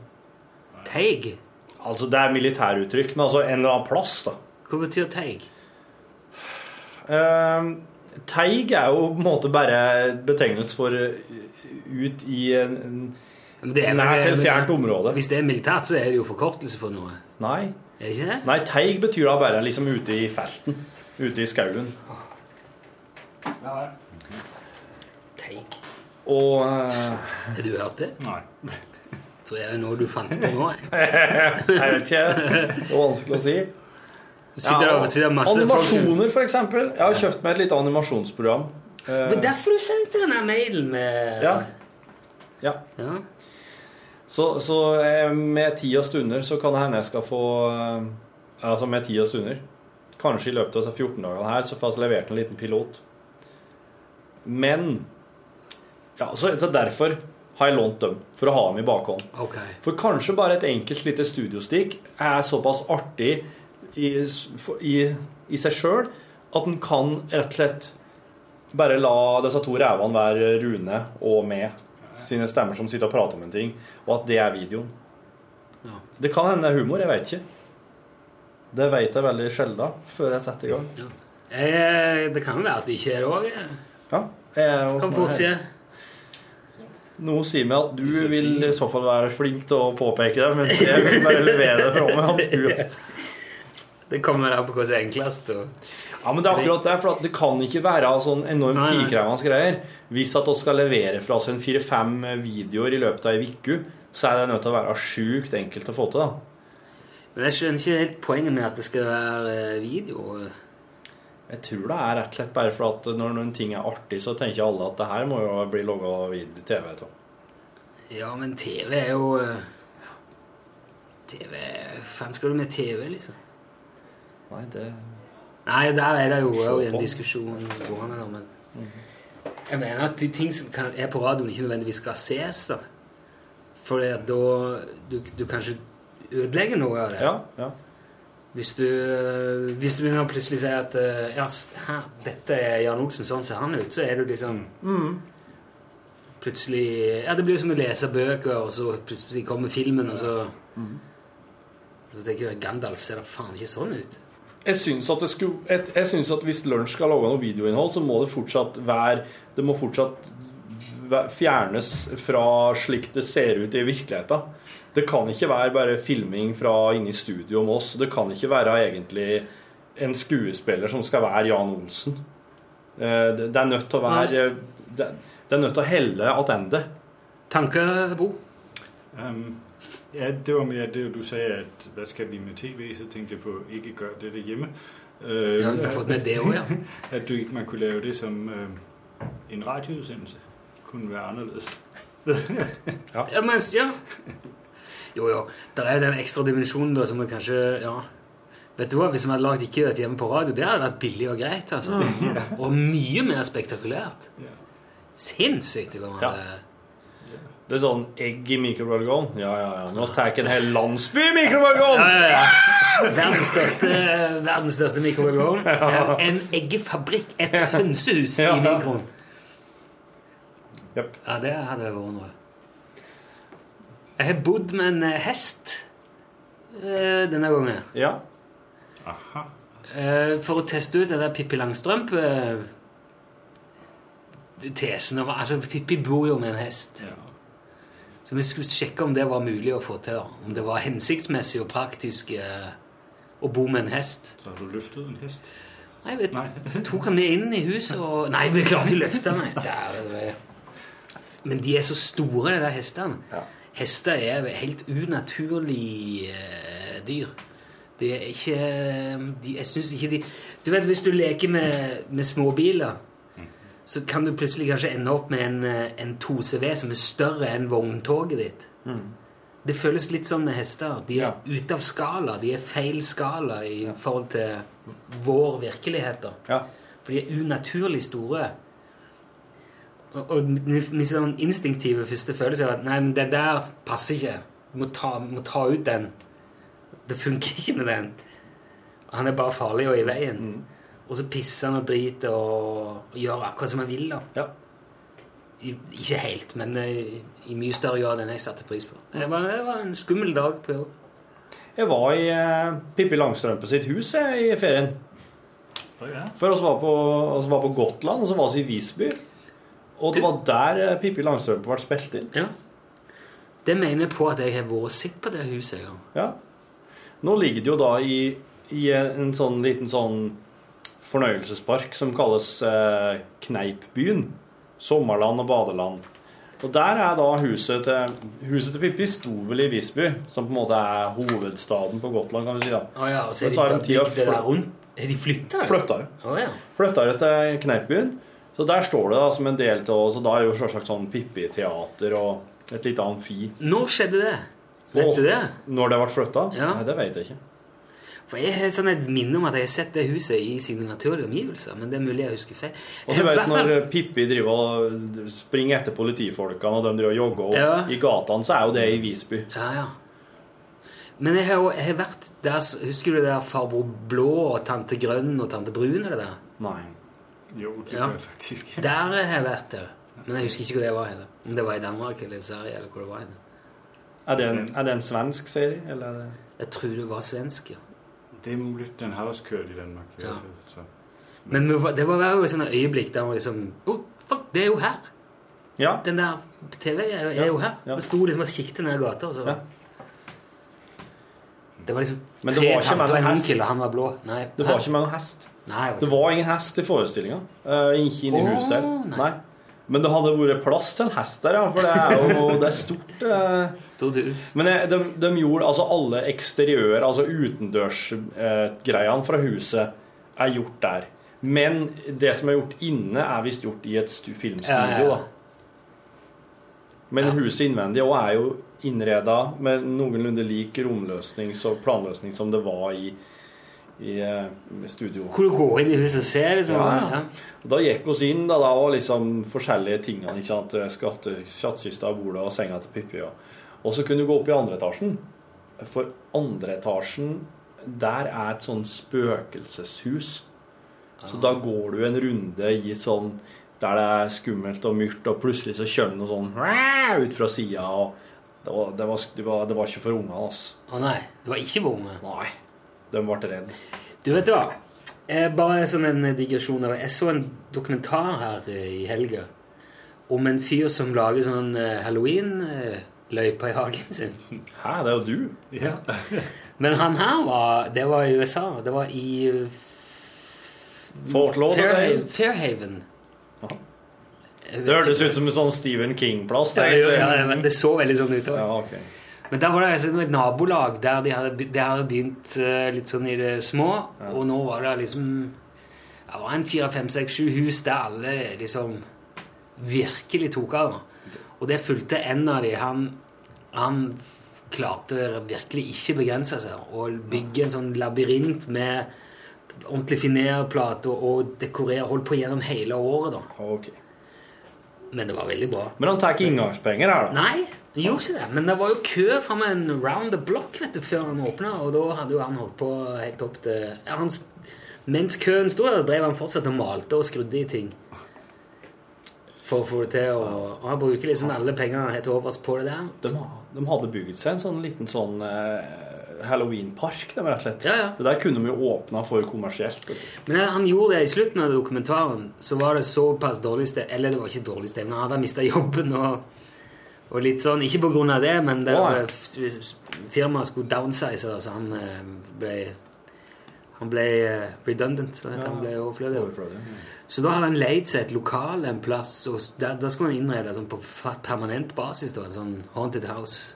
Speaker 4: Teig?
Speaker 3: Altså, det er militæruttrykk, men altså en eller annen plass, da.
Speaker 4: Hva betyr teig?
Speaker 3: Ehm, Teig er jo på en måte bare betegnelse for eh, ut i en,
Speaker 4: Men det
Speaker 3: en
Speaker 4: er-
Speaker 3: nært eller fjernt område.
Speaker 4: Hvis det er militært, så er det jo forkortelse for noe.
Speaker 3: Nei.
Speaker 4: Er det ikke det?
Speaker 3: Nei, teig betyr da bare liksom ute i felten. Ute i skauen.
Speaker 5: Nei.
Speaker 4: Teig.
Speaker 3: Og eh,
Speaker 4: Har du hørt det?
Speaker 5: Nei.
Speaker 4: Tror jeg er noe du fant på nå. jeg.
Speaker 3: Jeg vet ikke. Det er vanskelig å si.
Speaker 4: Sitter
Speaker 3: Ja,
Speaker 4: der, sitter der masse folk
Speaker 3: animasjoner, for eksempel. Jeg har kjøpt meg et lite animasjonsprogram. Eh,
Speaker 4: Det var derfor du sendte denne mailen med
Speaker 3: ja. ja.
Speaker 4: Ja.
Speaker 3: Så, så eh, med ti og stunder så kan det hende jeg skal få eh, Altså med ti og stunder Kanskje i løpet av disse 14 dagene her så får jeg levert en liten pilot. Men Ja, så, så derfor har jeg lånt dem. For å ha dem i bakhånd.
Speaker 4: Ok.
Speaker 3: For kanskje bare et enkelt lite studiostikk er såpass artig i, s- for- i, i seg sjøl at en kan rett og slett bare la disse to rævene være Rune og meg sine stemmer som sitter og prater om en ting, og at det er videoen.
Speaker 4: Ja.
Speaker 3: Det kan hende det er humor, jeg veit ikke. Det veit jeg veldig sjelden før jeg setter i gang.
Speaker 4: Ja. Eh, det kan jo være at det ikke er det òg.
Speaker 3: Ja, jeg,
Speaker 4: Kan fort skje.
Speaker 3: Noe sier meg at du vil i så fall være flink til å påpeke det, mens jeg vil bare levere det fra meg. At du
Speaker 4: Det kommer der på hva som er enklest. Og...
Speaker 3: Ja, men det er akkurat det, for at det kan ikke være sånn enormt
Speaker 4: Nei, nei.
Speaker 3: tidkrevende greier. Hvis at vi skal levere fra oss en fire-fem videoer i løpet av ei uke, så er det nødt til å være sjukt enkelt å få til. da.
Speaker 4: Men jeg skjønner ikke helt poenget med at det skal være eh, video.
Speaker 3: Jeg tror det er rett og slett bare for at når noen ting er artig, så tenker alle at det her må jo bli laga TV av.
Speaker 4: Ja, men TV er jo eh, TV Hva faen skal du med TV, liksom?
Speaker 3: Nei, det
Speaker 4: Nei, der er det jo
Speaker 3: Se
Speaker 4: også en
Speaker 3: på. Mhm.
Speaker 4: diskusjon gående, da, men Jeg mener at de ting som kan, er på radioen, ikke nødvendigvis skal ses, da. For da du, du kanskje ødelegger noe av det.
Speaker 3: Ja. ja.
Speaker 4: Hvis du, øh, hvis du begynner å plutselig si at øh, ja, s- her, dette er Jan Olsen, sånn ser han ut, så er du liksom Plutselig Ja, det blir jo som å lese bøker, og så plutselig kommer filmen, og så Mm. Så tenker du Gandalf ser da faen ikke sånn ut.
Speaker 3: Jeg syns at, det skulle, jeg, jeg synes at hvis Lunsj skal lage noe videoinnhold, så må det fortsatt være Det må fortsatt væ- fjernes fra slik det ser ut i virkeligheten. Det kan ikke være bare filming fra inne i studio med oss. Det kan ikke være egentlig en skuespiller som skal være Jan Olsen. Eh, Det det er nødt til å være Det det er nødt til å helle attende.
Speaker 4: Tanker, Bo?
Speaker 5: Um, ja, det var mere det, du sagde, at hvad skal vi med tv? Så tænkte jeg på, ikke gør det derhjemme. Øh,
Speaker 4: Ja, du har fått med det òg, ja.
Speaker 5: At du ikke man kunne lave det som øh, en radioudsendelse. Kunne være anderledes.
Speaker 4: ja, men, ja. Jo, jo. Der er den ekstra dimensjonen da, som er kanskje ja. Vet du hva, Hvis vi hadde lagd ikke dette hjemme på radio, det hadde vært billig og greit. altså. Og mye mer spektakulært.
Speaker 5: Ja.
Speaker 4: Sinnssykt. det kan
Speaker 3: Ja.
Speaker 4: være.
Speaker 3: Det er sånn egg i mikrobølgeovn. Ja, ja, ja. Nå tar jeg en hel landsby i mikrobølgeovn!
Speaker 4: ja, ja. Eh, Verdens største, verdens største mikrobølgeovn. En eggefabrikk. Et hønsehus i
Speaker 3: Ja.
Speaker 4: mikroen.
Speaker 3: Jep.
Speaker 4: Ja, det hadde vært noe. Jeg har bodd med en eh, hest eh, denne gangen.
Speaker 3: Ja.
Speaker 5: Aha.
Speaker 4: Eh, For å teste ut den der Pippi Langstrømpe-tesen om Altså, Pippi bor jo med en hest.
Speaker 5: Ja.
Speaker 4: Så vi skulle sjekke om det var mulig å få til. da. Om det var hensiktsmessig og praktisk eh, å bo med en hest.
Speaker 5: Så har du løftet en hest?
Speaker 4: Nei, vet,
Speaker 5: Nei.
Speaker 4: Tok han det inn i huset og Nei, vi klarte å løfte han. Der, det var- Men de er så store, de der hestene.
Speaker 3: Ja.
Speaker 4: Hester er helt unaturlig eh, dyr. Det er ikke eh, de, Jeg syns ikke de Du vet, hvis du leker med, med småbiler,
Speaker 3: Mm.
Speaker 4: så kan du plutselig kanskje ende opp med en, eh, en 2CV som er større enn vogntoget ditt. Det føles litt sånn med hester. De er
Speaker 3: Mm. Ja.
Speaker 4: ute av skala. De er feil skala i forhold til vår virkelighet. da.
Speaker 3: ja.
Speaker 4: For de er unaturlig store. Og, og min min sånn instinktive første følelse er at nei, men det der passer ikke. Må ta, må ta ut den. Det funker ikke med den. Han er bare farlig og i veien. Og så pisser han og driter og, og gjør akkurat som han vil. da.
Speaker 3: ja.
Speaker 4: I, ikke helt, men eh, i mye større grad enn jeg satte pris på. Det var, det var en skummel dag på jobb.
Speaker 3: Jeg var i eh, Pippi Langstrømpe sitt hus jeg, i ferien.
Speaker 5: Å ja.
Speaker 3: For oss var på, oss var på Gotland, og så var vi i Visby. Og det var der eh, Pippi Langstrømpe ble spilt inn.
Speaker 4: Ja. Det mener jeg på at jeg har vært og sett på det huset en gang.
Speaker 3: Ja. Nå ligger det jo da i, i en sånn liten sånn fornøyelsespark som kalles eh, Kneipbyen. Sommerland og badeland. Og der er da huset til, huset til Pippi sto vel i Visby, som på en måte er hovedstaden på Gotland, kan vi si. da.
Speaker 4: Å ja, og så
Speaker 3: Men
Speaker 4: er de
Speaker 3: så har de
Speaker 4: bare
Speaker 3: tida
Speaker 4: bygd det
Speaker 3: flytt-
Speaker 4: der rundt. Har de flytta?
Speaker 3: Flytta det.
Speaker 4: Å ja.
Speaker 3: Flytta det til Kneipbyen. Så der står det da som en del av Så da er jo selvsagt sånn Pippi-teater og et lite amfi.
Speaker 4: Når skjedde det? Vet
Speaker 3: Og
Speaker 4: du det?
Speaker 3: Når det ble flytta?
Speaker 4: Ja.
Speaker 3: Nei, det vet jeg ikke.
Speaker 4: For jeg har sånn et minne om at jeg har sett det huset i sine naturlige omgivelser. Men det er mulig jeg husker feil.
Speaker 3: Og
Speaker 4: Jeg
Speaker 3: du
Speaker 4: har i
Speaker 3: vet
Speaker 4: hvert fall-
Speaker 3: når Pippi driver og springer etter politifolkene, og de driver og jogger opp
Speaker 4: Ja.
Speaker 3: i gatene, så er jo det i Visby.
Speaker 4: Ja, ja. Men jeg har jo jeg har vært der s- Husker du det der farbror Blå og tante Grønn og tante Brun og det der?
Speaker 3: Nei.
Speaker 5: Jo, det
Speaker 4: Ja.
Speaker 5: gjør jeg faktisk.
Speaker 4: Der har jeg vært, det. Men jeg husker ikke hvor det var. Heller. Om det var i Danmark eller Sverige eller hvor det var. Heller.
Speaker 3: Er det en, er det en svensk serie, eller er det
Speaker 4: Jeg tror det var svensk, ja.
Speaker 5: Det er mulig. Den har også kørt i Danmark. i
Speaker 4: Ja.
Speaker 5: hvert fald, Så.
Speaker 4: Men vi var- det var jo sånne øyeblikk der man liksom oh, fuck, det er jo her!
Speaker 3: Ja.
Speaker 4: Den der TV er, er
Speaker 3: Ja,
Speaker 4: jo her.
Speaker 3: ja.
Speaker 4: Vi sto liksom og kikket ned gata, og så
Speaker 3: Ja.
Speaker 4: Det var liksom
Speaker 3: Men det
Speaker 4: tre
Speaker 3: var ikke med
Speaker 4: tanter og en
Speaker 3: noen
Speaker 4: onkel,
Speaker 3: hest.
Speaker 4: og han var blå. Nei.
Speaker 3: Det var ikke med noen hest.
Speaker 4: Nei, det
Speaker 3: Det
Speaker 4: var ikke.
Speaker 3: var ingen hest i forestillinga. Eh, ikke inne i
Speaker 4: Å,
Speaker 3: huset.
Speaker 4: nei.
Speaker 3: Nei. Men det hadde vært plass til en hest der, ja. For det er jo det er stort. eh.
Speaker 4: Stort hus.
Speaker 3: Men eh, de, de gjorde altså alle eksteriører, altså utendørsgreiene fra huset, er gjort der. Men det som er gjort inne, er visst gjort i et stu,
Speaker 4: Ja, ja,
Speaker 3: filmstudio,
Speaker 4: ja.
Speaker 3: da. Men
Speaker 4: Ja.
Speaker 3: huset innvendig også er jo innreda med noenlunde lik romløsning og planløsning som det var i, i eh, studio.
Speaker 4: Hvor du går inn i huset og ser liksom, ja.
Speaker 3: Ja, ja. Og Da gikk oss inn da, da og liksom forskjellige tingene. ikke sant? Skatte, Skattkista, bordet og senga til Pippi. Og. og så kunne du gå opp i andre etasjen. For andre etasjen, der er et sånn spøkelseshus. Så da går du en runde i sånn der det er skummelt og mørkt, og plutselig så kjører det noe sånn "Wah!" ut fra sida. Det, var- det, var- det, var- det var ikke for ungene, altså.
Speaker 4: Å nei, det var ikke vår unge.
Speaker 3: Nei. De ble redde.
Speaker 4: Du vet hva? Eh, Bare sånn en digresjon. over- Jeg så en dokumentar her eh, i helga om en fyr som lager sånn halloween-løype i hagen sin.
Speaker 3: Hæ, det er jo du.
Speaker 4: Ja. Men han her var Det var i USA. Det var i eh,
Speaker 3: Fort Lauderdale.
Speaker 4: Fairhaven. Fairhaven.
Speaker 3: Ja.
Speaker 4: Jeg vet
Speaker 3: Det hørtes
Speaker 4: ikke.
Speaker 3: ut som en sånn Stephen King-plass.
Speaker 4: Ja,
Speaker 3: det.
Speaker 4: ja, ja, men det så veldig sånn ut. også.
Speaker 3: Ja, ok.
Speaker 4: Men der var det liksom et nabolag der de hadde, be- de hadde begynt eh, litt sånn i det små, og nå var det liksom Det var en fire, fem, seks, sju hus der alle liksom virkelig tok av. da. Og det fulgte en av de. Han, han f- klarte virkelig ikke begrense seg og bygge en sånn labyrint med ordentlig finerplate og, og dekorere, holdt på gjennom hele året. da.
Speaker 3: Ok.
Speaker 4: Men det var veldig bra.
Speaker 3: Men han tar ikke inngangspenger her, da.
Speaker 4: Nei, han gjorde ikke det. Men det var jo kø framme en round the block vet du, før han åpna, og da hadde jo han holdt på helt opp til ja, han, s- Mens køen sto der, drev han fortsatt og malte og skrudde i ting. For å få det til. Og, og han bruker liksom alle pengene han har til overs på det der.
Speaker 3: De, de hadde bygd seg en sånn liten sånn eh, Halloween-park, de, rett og slett.
Speaker 4: Ja, ja.
Speaker 3: Det der kunne de jo åpna for kommersielt. vet du.
Speaker 4: Men han gjorde det i slutten av dokumentaren. Så var det såpass dårlig stemning Eller det var ikke dårlig stemning, han hadde mista jobben og, og litt sånn. Ikke på grunn av det, men det
Speaker 3: Å,
Speaker 4: var-
Speaker 3: ja.
Speaker 4: f- firmaet skulle downsize, det, så han eh, ble han ble eh, redundant. Så
Speaker 3: Ja.
Speaker 4: Han ble overflødig.
Speaker 3: Overflødig.
Speaker 4: Så da hadde han leid seg et lokal en plass, og s- der, der skulle han innrede sånn på fa- permanent basis. da, en sånn haunted house.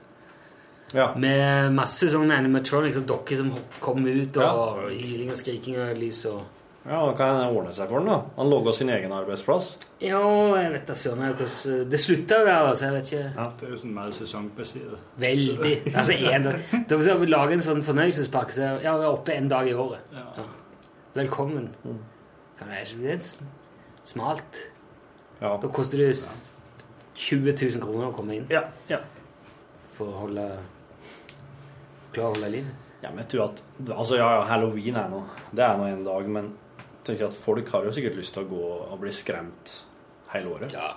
Speaker 3: Ja.
Speaker 4: Med masse sånne animatronics og dokker som hop- kom ut, og,
Speaker 3: Ja.
Speaker 4: og hyling og skriking og lys og
Speaker 3: ja, da kan han ordne seg for den, da. Han logga sin egen arbeidsplass.
Speaker 4: Jo, jeg vet da søren jeg, hvordan eh, Det slutta jo der, altså. Jeg vet ikke.
Speaker 5: Det er jo sådan meget sæsonbaseret.
Speaker 4: Veldig. Altså, en, det var sånn, Lage en sånn fornøyelsespakke. Så ja, vi er oppe en dag i året.
Speaker 5: Ja.
Speaker 4: Velkommen.
Speaker 3: Mm.
Speaker 4: Kan det ikke bli litt s- smalt?
Speaker 3: Ja.
Speaker 4: Da koster det s- 20 000 kroner å komme inn
Speaker 3: Ja, ja.
Speaker 4: for å holde Klare å holde liv.
Speaker 3: ja, men jeg tror at Altså, ja, ja, halloween er nå Det er nå en dag, men jeg tenker at folk har jo sikkert lyst til å gå og bli skremt hele året.
Speaker 4: Ja.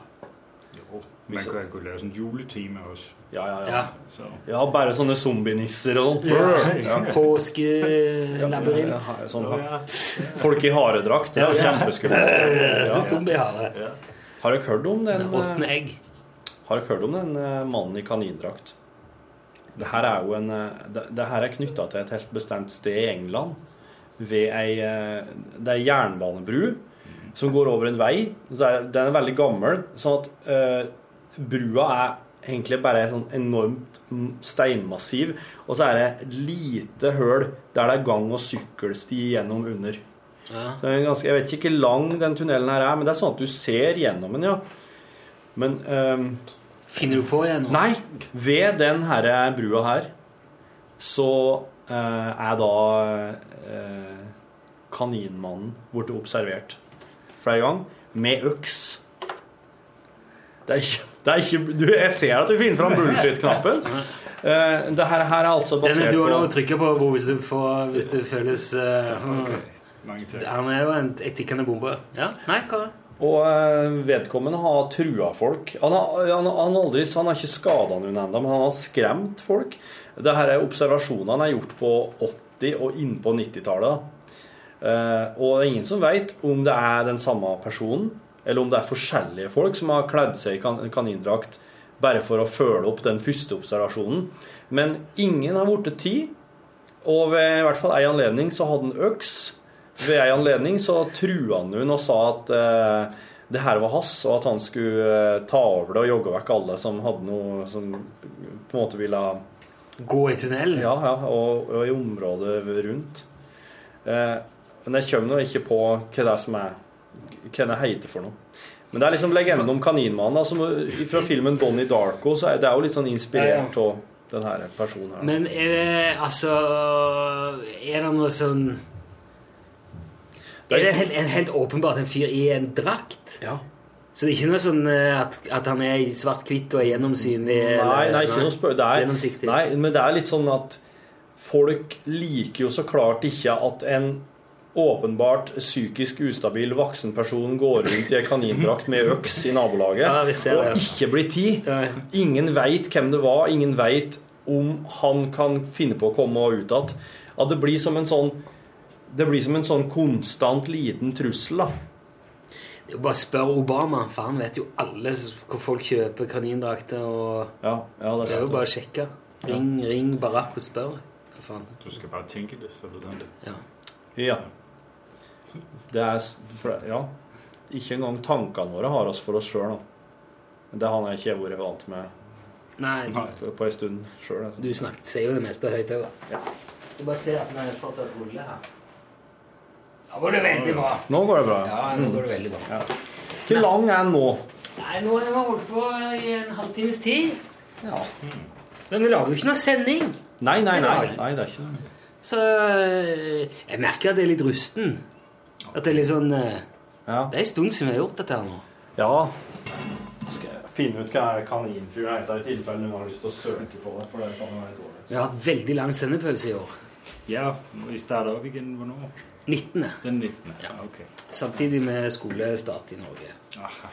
Speaker 5: Jo, man
Speaker 3: Hvis-
Speaker 5: kan kunne lave sådan en juletema også.
Speaker 3: Ja, ja, ja.
Speaker 4: ja.
Speaker 5: Så.
Speaker 3: Ja, bare sånne zombienisser og sånn. Ja.
Speaker 4: Påskelabyrint.
Speaker 3: Ja, Sånn,
Speaker 5: Nå, ja.
Speaker 3: folk i haredrakt. Det er jo kjempeskummelt. Ja.
Speaker 4: Zombiehare.
Speaker 3: Har dere hørt om den
Speaker 4: Råtne
Speaker 3: eh,
Speaker 4: egg.
Speaker 3: Har dere hørt om den eh, mannen i kanindrakt? Det her er jo en eh, Det, det her er knytta til et helt bestemt sted i England. Ved ei eh, Det er ei jernbanebru som går over en vei. Så er, den er veldig gammel, sånn at eh, brua er egentlig bare et sånn enormt mm, steinmassiv. Og så er det et lite høl der det er gang- og sykkelsti gjennom under.
Speaker 4: Ja.
Speaker 3: Så det er en ganske, jeg vet ikke hvor lang den tunnelen her er, men det er sånn at du ser gjennom den, ja. Men ehm,
Speaker 4: Finner du på igjen nå?
Speaker 3: Nei, ved den her brua her så eh, er da eh, kaninmannen borte observert flere ganger med øks. Det er ikke, det er ikke du, Jeg ser at du finner fram bullshit-knappen. Uh, det her, her er altså
Speaker 4: Den
Speaker 3: basert
Speaker 4: du har lov å
Speaker 3: på
Speaker 4: trykke på Bo, hvis du, får, hvis du føles eh,
Speaker 5: Okay. Mange tak.
Speaker 4: hmm. Han er jo en en tikkende bombe. Ja, nei, hva?
Speaker 3: Og eh, vedkommende har trua folk. Han har, han, han har aldri, han har ikke skada noen ennå, men han har skremt folk. Det her er observasjoner han har gjort på 80- og innpå 90-tallet. Eh, og det er ingen som veit om det er den samme personen, eller om det er forskjellige folk som har kledd seg i kan kanindrakt bare for å følge opp den første observasjonen. Men ingen har blitt ti, og ved i hvert fall ei anledning så hadde han øks. Ved ei anledning så trua han hun og sa at eh, det her var hans, og at han skulle eh, ta over det og jogge vekk alle som hadde noe som på en måte ville
Speaker 4: Gå i tunnelen?
Speaker 3: Ja, ja, og, og i området rundt. Eh, men jeg kommer nå ikke på hva det er som er Hva det heter for noe. Men det er liksom legenden om Kaninmannen. da, som fra filmen Donnie Darko så er det er jo litt sånn inspirert av den her personen her.
Speaker 4: Men er det altså Er det noe sånn Er det helt, en, helt åpenbart en fyr i en drakt?
Speaker 3: Ja.
Speaker 4: Så det er ikke noe sånn eh, at, at han er i svart-hvitt og er gjennomsynlig?
Speaker 3: Nei,
Speaker 4: eller-
Speaker 3: nei, ikke noe spør... Det er,
Speaker 4: Gjennomsiktig.
Speaker 3: nei, men det er litt sånn at folk liker jo så klart ikke at en åpenbart psykisk ustabil voksen person går rundt i en kanindrakt med øks i nabolaget
Speaker 4: Ja, vi ser
Speaker 3: og
Speaker 4: det.
Speaker 3: ikke blir tid.
Speaker 4: Nei.
Speaker 3: Ingen veit hvem det var, ingen veit om han kan finne på å komme ut igjen. At det blir som en sånn det blir som en sånn konstant liten trussel, da.
Speaker 4: Det er jo Bare spør Obama, for han vet jo alle s- hvor folk kjøper kanindrakter. og
Speaker 3: Ja, ja, det er
Speaker 4: Det er jo
Speaker 3: sant.
Speaker 4: bare å sjekke. Ring, ring Barack og spør. For faen.
Speaker 5: Du skal bare tænke det, så ved han det.
Speaker 4: Ja.
Speaker 3: Ja. Det er s- for- Ja. Ikke engang tankene våre har oss for oss sjøl, da. Det har jeg ikke vært vant med
Speaker 4: Nei,
Speaker 5: Nei.
Speaker 3: på- på ei stund altså. sjøl.
Speaker 4: du snakket, sier jo det meste høyt òg.
Speaker 3: Ja.
Speaker 4: Du bare ser at den er fortsatt ruller her. Da går det veldig bra.
Speaker 3: Nå går det bra.
Speaker 4: Ja, nå går det veldig bra.
Speaker 3: Hvor lang er den nå?
Speaker 4: Nei, nå har vi holdt på i en halvtimes tid.
Speaker 3: Ja.
Speaker 4: Men vi lager jo ikke noe sending.
Speaker 3: Nei, nei, nei. nei det er ikke det.
Speaker 4: Så øh, jeg merker at jeg er litt rusten. At det er litt sånn øh,
Speaker 3: Ja.
Speaker 4: Det er en stund siden vi har gjort dette her nå.
Speaker 3: ja. finne ut hva er kaninfugl heter, i tilfelle noen har lyst til å søke på det. for det kan jo være dårlig.
Speaker 4: Vi har hatt veldig lang sendepause i år.
Speaker 5: Ja, må vi starter opp igjen hvornår?
Speaker 4: 19.
Speaker 5: Den 19.
Speaker 4: Ja.
Speaker 5: Ah, ok.
Speaker 4: Samtidig med skolestart i Norge.
Speaker 5: Aha.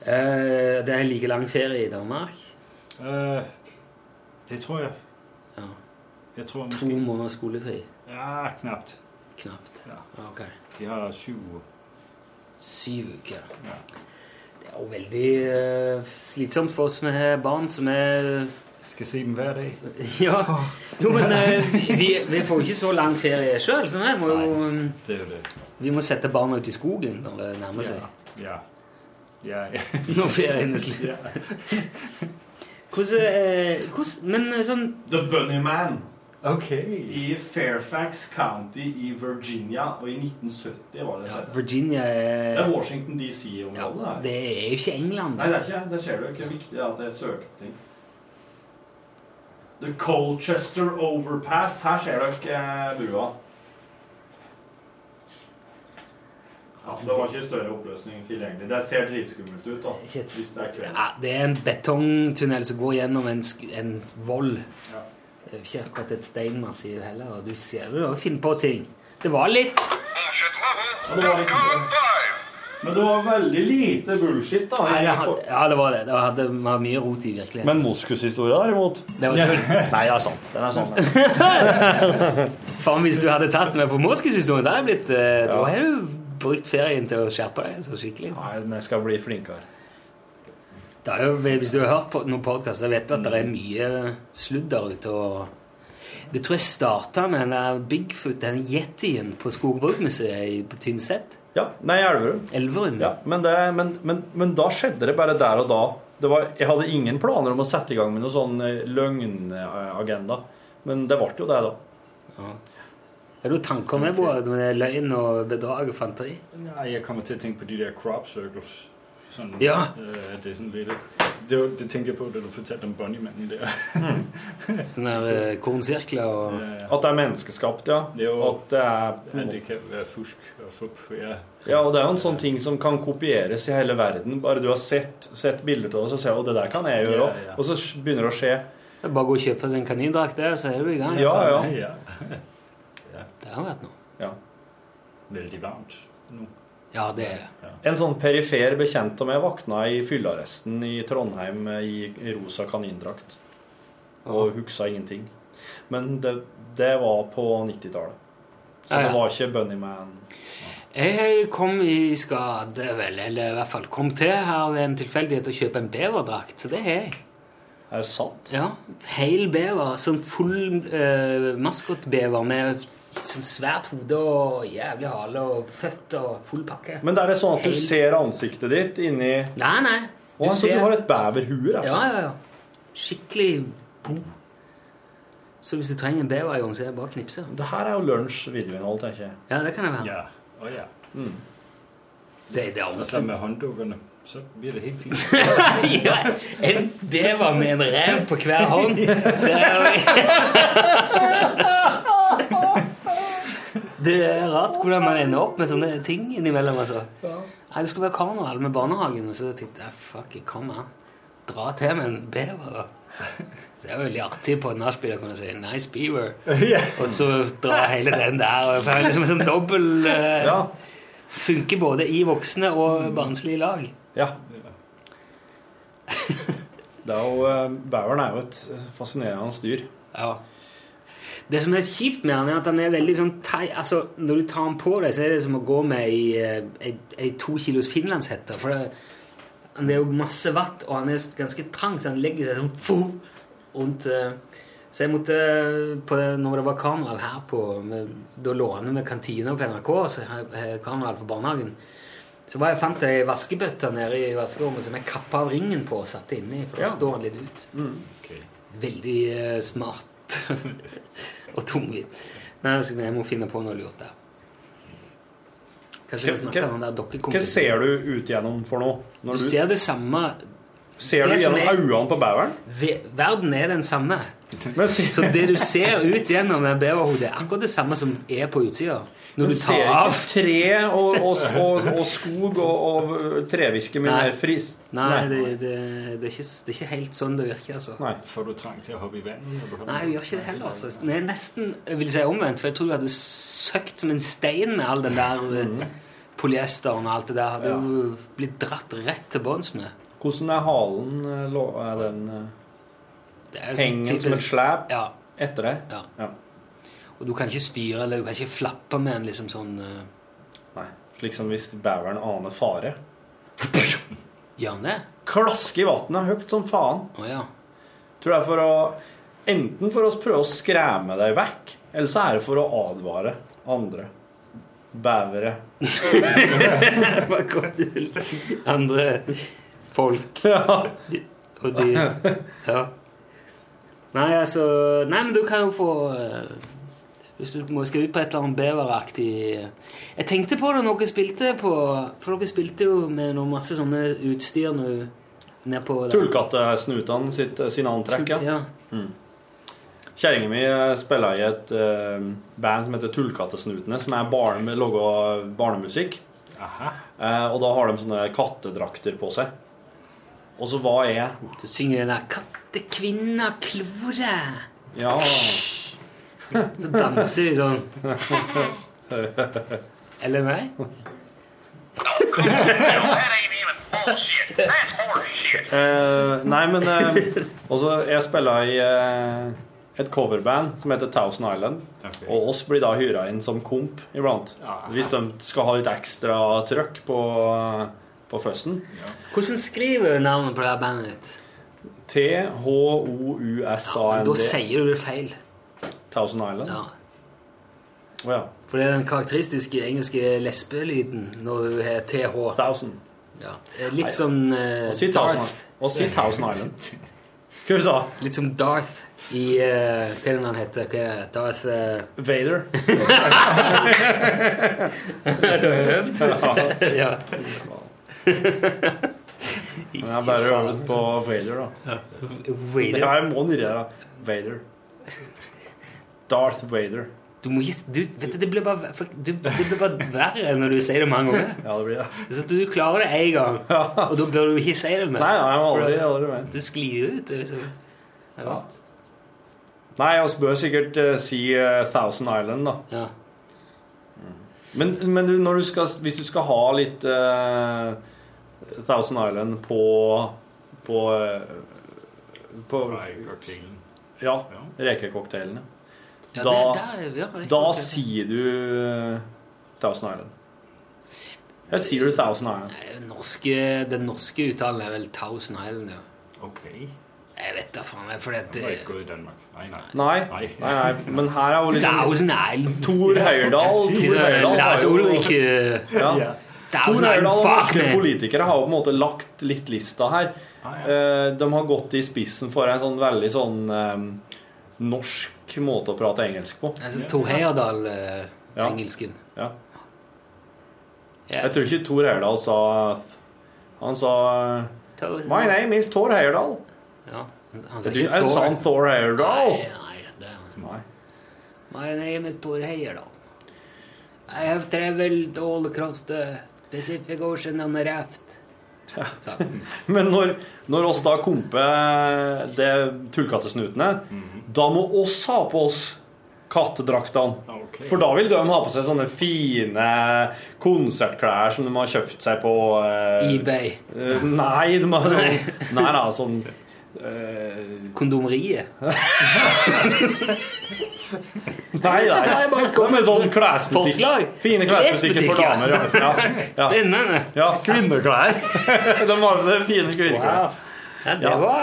Speaker 4: Eh, det er like lang ferie i Danmark.
Speaker 5: Eh, det tror jeg.
Speaker 4: Ja.
Speaker 5: Jeg tror
Speaker 4: To
Speaker 5: måske...
Speaker 4: måneder skolefri.
Speaker 5: Ja, knapt.
Speaker 4: Knapt.
Speaker 5: Ja.
Speaker 4: Ok.
Speaker 5: De har syv uger.
Speaker 4: Syv uker.
Speaker 5: Ja.
Speaker 4: Det er jo veldig eh, slitsomt for oss med barn som er
Speaker 5: Jeg skal se dem hver dag.
Speaker 4: Ja. Jo, men eh, vi, vi får jo ikke så lang ferie sjøl, så vi må jo mm,
Speaker 5: Det er jo det.
Speaker 4: Vi må sette barna ut i skogen når det nærmer seg.
Speaker 5: Ja. Ja. Ja, ja.
Speaker 4: Når ferien er slutt.
Speaker 5: ja.
Speaker 4: Hvordan, eh, hvordan Men eh, sånn
Speaker 3: The Bunnyman
Speaker 5: Ok.
Speaker 3: i Fairfax County i Virginia, og i 1970 var det skjedde.
Speaker 4: Virginia
Speaker 3: Det er
Speaker 4: er
Speaker 3: Washington
Speaker 4: ja,
Speaker 3: DC-området. her.
Speaker 4: Det er jo ikke England.
Speaker 3: Nei, det er ikke det. ser du ikke viktig at det er søketing. The Colchester Overpass. Her ser dere eh, brua. Altså, det var ikke større oppløsning tilgjengelig. Det ser dritskummelt ut, da.
Speaker 4: Ikke et-
Speaker 3: Hvis det er kveld.
Speaker 4: Ja, det er en betongtunnel som går gjennom en, sk- en vold.
Speaker 3: Ja.
Speaker 4: Det er jo ikke akkurat et steinmassiv heller, og du ser jo da finne på ting. Det var litt
Speaker 3: Ja, det var litt Men det var veldig lite bullshit, da.
Speaker 4: Nei, det hadde, Ja, det var det. Det hadde, det var mye rot i virkeligheten.
Speaker 3: Men moskushistoria, derimot
Speaker 4: Det var tull.
Speaker 3: Nei, det er sant. Den er sant.
Speaker 4: Faen, hvis du hadde tatt meg på Moskus-historien, da hadde jeg blitt, eh, da har du brukt ferien til å skjerpe deg så skikkelig.
Speaker 3: Nei, men jeg skal bli flinkere.
Speaker 4: Det er jo, hvis du har hørt på noen podkast, så vet du at det er mye sludder ute. og... Det tror jeg starta med den der Bigfoot, den yetien på Skogbrukmuseet i- på Tynset.
Speaker 3: Ja. Nei, Elverum.
Speaker 4: Elverum.
Speaker 3: Ja, men, det, men, men, men da skjedde det bare der og da. Det var, jeg hadde ingen planer om å sette i gang med noen sånn eh, løgnagenda. Men det ble jo det, da.
Speaker 4: Er det jo tanker med både med løgn og bedrag og fanteri?
Speaker 5: Nej, jeg kommer til at tænke på de der crop circles. Sådan,
Speaker 4: Ja.
Speaker 5: Øh, at det er sådan lidt... Det, var, det tænkte jeg på, da du fortalte om Bonnie-manden der.
Speaker 4: Sånne der eh, kornsirkler og
Speaker 5: Ja.
Speaker 3: At det er menneskeskapt, ja.
Speaker 5: Jo.
Speaker 3: At det er,
Speaker 5: Men det kan være fusk og fup. Ja.
Speaker 3: ja, og det er jo en sånn ting som kan kopieres i hele verden. Bare du har sett, sett bilder av det, så ser du at det der kan jeg gjøre
Speaker 5: Ja,
Speaker 3: òg.
Speaker 5: ja.
Speaker 3: Og så s- begynner det å skje.
Speaker 4: Det er Bare gå og kjøpe seg en kanindrakt der, så er du i gang.
Speaker 3: Ja, ja.
Speaker 5: Altså, ja.
Speaker 4: Det har vært noe.
Speaker 3: ja.
Speaker 5: Vældig varmt nu.
Speaker 4: Ja, det er det.
Speaker 3: En sånn perifer bekjent av meg våkna i fyllearresten i Trondheim eh, i, i rosa kanindrakt. Og huksa ingenting. Men det, det var på 90-tallet. Så
Speaker 4: Ja, ja.
Speaker 3: det var ikke Bunnyman.
Speaker 4: Jeg kom i skade, vel, eller i hvert fall kom til her ved en tilfeldighet å kjøpe en beverdrakt, så det har jeg.
Speaker 3: Er det sant?
Speaker 4: Ja, Heil bever, sånn full eh, maskotbever med sånn svært hode og jævlig hale og føtter og full pakke.
Speaker 3: Men det er sånn at du
Speaker 4: Hei.
Speaker 3: ser ansiktet ditt inni Å,
Speaker 4: Nei, nei. Du
Speaker 3: altså, du har et beverhue, rett og
Speaker 4: Ja,
Speaker 3: slett.
Speaker 4: ja, ja. Skikkelig bo. Så hvis du trenger en bever i gang, så er det bare å knipse.
Speaker 3: Det her er jo lunsj-videoinnhold, tenker jeg.
Speaker 4: Ja, det kan det være.
Speaker 5: Ja. Og ja.
Speaker 4: Det, det er
Speaker 5: Og
Speaker 4: ordentlig.
Speaker 5: så med hånddukkerne, så bliver det helt fint.
Speaker 4: ja, en bever med en rev på hver hånd. Det er, det er rart hvordan man ender opp med sånne ting innimellom. Altså. Nei, det skulle være karneval med barnehagen, og så tenkte jeg fuck, jeg kan da dra til med en bever. da. Det er jo veldig artig på en nachspiel å kunne si 'nice beaver', og så dra hele den der. Og så er det liksom en sånn dobbel eh,
Speaker 3: Ja.
Speaker 4: Funker både i voksne og barnslige lag.
Speaker 3: ja. Det er jo, eh, Beveren er jo et fascinerende dyr.
Speaker 4: Ja. Det som er kjipt med han er at han er veldig sånn tei... Altså, når du tar han på deg, så er det som å gå med ei, eh, ei, ei to kilos finlandshette. For det, han er jo masse vatt, og han er s- ganske trang, så han legger seg sånn fu- rundt eh. Så jeg måtte eh, på, Når det var karneval her på med, Da lå han med kantina på NRK, så her- her karneval på barnehagen. Så var jeg fant ei vaskebøtte nede i vaskerommet som jeg kappa av ringen på og satte inni. For da
Speaker 3: Ja. Mm.
Speaker 4: står han litt ut.
Speaker 5: Okay.
Speaker 4: Veldig eh, smart og tungvint. Men jeg skal- jeg må finne på noe lurt der. Kanskje jeg
Speaker 3: Hva-
Speaker 4: snakker
Speaker 3: hva-
Speaker 4: om den der
Speaker 3: Hva
Speaker 4: dokkekompisen.
Speaker 3: ser du ut gjennom for noe?
Speaker 4: Du
Speaker 3: Når du,
Speaker 4: ser det samme
Speaker 3: Ser du
Speaker 4: Det som
Speaker 3: gjennom
Speaker 4: er-
Speaker 3: øynene på beveren?
Speaker 4: Ve- Verden er den samme.
Speaker 3: Men se-
Speaker 4: Så det du ser ut gjennom den beverhodet, er akkurat det samme som er på utsida. Når
Speaker 3: men
Speaker 4: du
Speaker 3: ser
Speaker 4: tar
Speaker 3: ikke
Speaker 4: av
Speaker 3: tre og, og, og, og skog og, og trevirke mye
Speaker 4: Nei.
Speaker 3: mer frist?
Speaker 4: Nei, det, det, det, er ikke, det er ikke helt sånn det virker, altså.
Speaker 3: Nei.
Speaker 5: Får du trang til å hoppe i vannet? når du
Speaker 4: Nei,
Speaker 5: holder den?
Speaker 4: hun gjør ikke det heller. Altså. Det er nesten jeg vil si omvendt, for jeg tror du hadde søkt som en stein med all den der eh, polyesteren og alt det der. Hadde
Speaker 3: Mm. Ja.
Speaker 4: du blitt dratt rett til bunns med.
Speaker 3: Hvordan er halen? eh, lå- Er den eh,
Speaker 4: Det er sånn
Speaker 3: Henger som en
Speaker 4: typisk-
Speaker 3: slep
Speaker 4: Ja,
Speaker 3: etter deg?
Speaker 4: ja.
Speaker 3: Ja.
Speaker 4: Og du kan ikke styre, eller du kan ikke flappe med en liksom sånn eh,
Speaker 3: Nei. Slik som hvis beveren aner fare.
Speaker 4: Gjør han det?
Speaker 3: Klaske i vannet høyt som faen.
Speaker 4: Å ja.
Speaker 3: Tror det er for å Enten for å prøve å skremme deg vekk, eller så er det for å advare andre. Bevere.
Speaker 4: Det var godt til andre folk
Speaker 3: Ja.
Speaker 4: og dyr. Ja. Nei, altså Nei, men du kan jo få eh, Hvis du må skal ut på et eller annet beveraktig Jeg tenkte på det når dere spilte på For dere spilte jo med noe masse sånne utstyr nå nedpå
Speaker 3: Tullkattesnutene sitt, sine antrekk. ja.
Speaker 4: Ja.
Speaker 3: Kjerringa mi eh, spiller i et eh, band som heter Tullkattesnutene, som er barne, lager barnemusikk.
Speaker 5: Aha.
Speaker 3: Eh, og da har de sånne kattedrakter på seg. Og så var jeg
Speaker 4: Så synger den der 'Kattekvinna klore'.
Speaker 3: Ja,
Speaker 4: Så danser vi sånn. Eller nei?
Speaker 1: That ain't even bullshit. That's horseshit.
Speaker 3: Eh, nei, men eh, også, Jeg spiller i eh, et coverband som heter Thousand Island.
Speaker 5: Ok.
Speaker 3: Og oss blir da hyra inn som komp iblant.
Speaker 5: Ja.
Speaker 3: Hvis de skal ha litt ekstra trøkk på, på føsten.
Speaker 4: Hvordan skriver du navnet på det her bandet ditt? Da
Speaker 3: T-h-o-u-s-a-n-d.
Speaker 4: sier du det feil.
Speaker 3: Thousand Island.
Speaker 4: Ja.
Speaker 3: Å ja.
Speaker 4: For det er den karakteristiske engelske lesbelyden når du har TH.
Speaker 3: Thousand.
Speaker 4: Ja. Eh, Litt som eh,
Speaker 3: Og si Thousand,
Speaker 4: Darth.
Speaker 3: og si Thousand Island. Hva du sa du?
Speaker 4: Litt som Darth i eh, Hva er det han heter? Hva er det? Darth eh,
Speaker 3: Vader.
Speaker 4: ja.
Speaker 3: Men jeg bare øver på Vader, da.
Speaker 4: Wait.
Speaker 3: Ja, jeg må nedi der, da. Vader. Darth Vader.
Speaker 4: Du må ikke du, Vet du, det blir bare, for- du, det blir bare verre når du sier det mange ganger.
Speaker 3: Ja, det blir det.
Speaker 4: Så du klarer det én gang, og da bør du ikke si det mer.
Speaker 3: Nei, nei, jeg må
Speaker 4: For
Speaker 3: aldri,
Speaker 4: det-
Speaker 3: aldri mer.
Speaker 4: Det sklir ut. Det er liksom- det er rart.
Speaker 3: Nei, vi bør sikkert eh, si eh, Thousand Island, da.
Speaker 4: Ja.
Speaker 3: Men, men du, når du skal, hvis du skal ha litt eh, Thousand Island på På, eh, på
Speaker 5: Nei, cocktailen.
Speaker 3: Ja,
Speaker 5: Ja.
Speaker 3: rekecocktailene.
Speaker 4: Ja,
Speaker 3: Da-
Speaker 4: det, der, ja, det er
Speaker 3: Da
Speaker 4: klart det.
Speaker 3: sier du eh, Thousand Island. Jeg sier du Thousand Island.
Speaker 4: Nei, den norske, den norske uttalen er vel Thousand Island, jo.
Speaker 5: Ok.
Speaker 4: Jeg vet da faen, jeg,
Speaker 3: Oh
Speaker 4: fordi at
Speaker 5: Den var ikke
Speaker 4: det,
Speaker 5: god i Danmark. Nei, nei.
Speaker 3: Nei, nei,
Speaker 5: Nei.
Speaker 3: nei, men her er jo liksom
Speaker 4: Thousand Island
Speaker 3: Tor Heyerdahl Tor
Speaker 4: liksom,
Speaker 3: Heyerdahl har
Speaker 4: Lars
Speaker 3: jo-
Speaker 4: Ulrik eh,
Speaker 3: Ja. Altså, Tor
Speaker 4: Thousand
Speaker 3: Heyerdahl
Speaker 4: Island,
Speaker 3: og
Speaker 4: fuck
Speaker 3: norske
Speaker 4: me!
Speaker 3: politikere har jo på en måte lagt litt lista her.
Speaker 5: Ah, ja.
Speaker 3: Eh, De har gått i spissen for en sånn veldig sånn eh, norsk måte å prate engelsk på.
Speaker 4: Altså, Tor Heyerdahl, eh,
Speaker 3: Ja.
Speaker 4: engelsken.
Speaker 3: Ja.
Speaker 4: Ja.
Speaker 3: Jeg tror ikke Tor Heyerdahl sa Han sa eh,
Speaker 4: Thousand-
Speaker 3: My name is Tor Heyerdahl.
Speaker 4: Ja. Han sa
Speaker 3: Jeg tror
Speaker 4: ikke
Speaker 3: jeg Sa han Thor Heyerdahl?
Speaker 4: Nei, nei, det er han.
Speaker 3: Nei.
Speaker 4: My name is Tor Heyerdahl. I have traveled all across the Pacific Ocean on a raft. Sa han.
Speaker 3: Men når, når oss da komper eh, det tullkattesnutene, da må oss ha på oss kattedraktene.
Speaker 5: Ok.
Speaker 3: For da vil de ha på seg sånne fine konsertklær som de har kjøpt seg på eh,
Speaker 4: eBay.
Speaker 3: eh, Nei, de har
Speaker 4: Nei.
Speaker 3: Nei da, sånn eh,
Speaker 4: Kondomeriet.
Speaker 3: Nei, nei.
Speaker 4: Nei, bare
Speaker 3: De
Speaker 4: kom
Speaker 3: er sånn
Speaker 4: Forslag.
Speaker 3: klesbutikk. Fine klesbutikker for
Speaker 4: Klesbutikk, ja.
Speaker 3: damer. Ja. Ja. Ja.
Speaker 4: Spennende.
Speaker 3: ja, kvinneklær. De har på seg fine kvinneklær.
Speaker 4: Wow. Ja, det
Speaker 3: Ja.
Speaker 4: var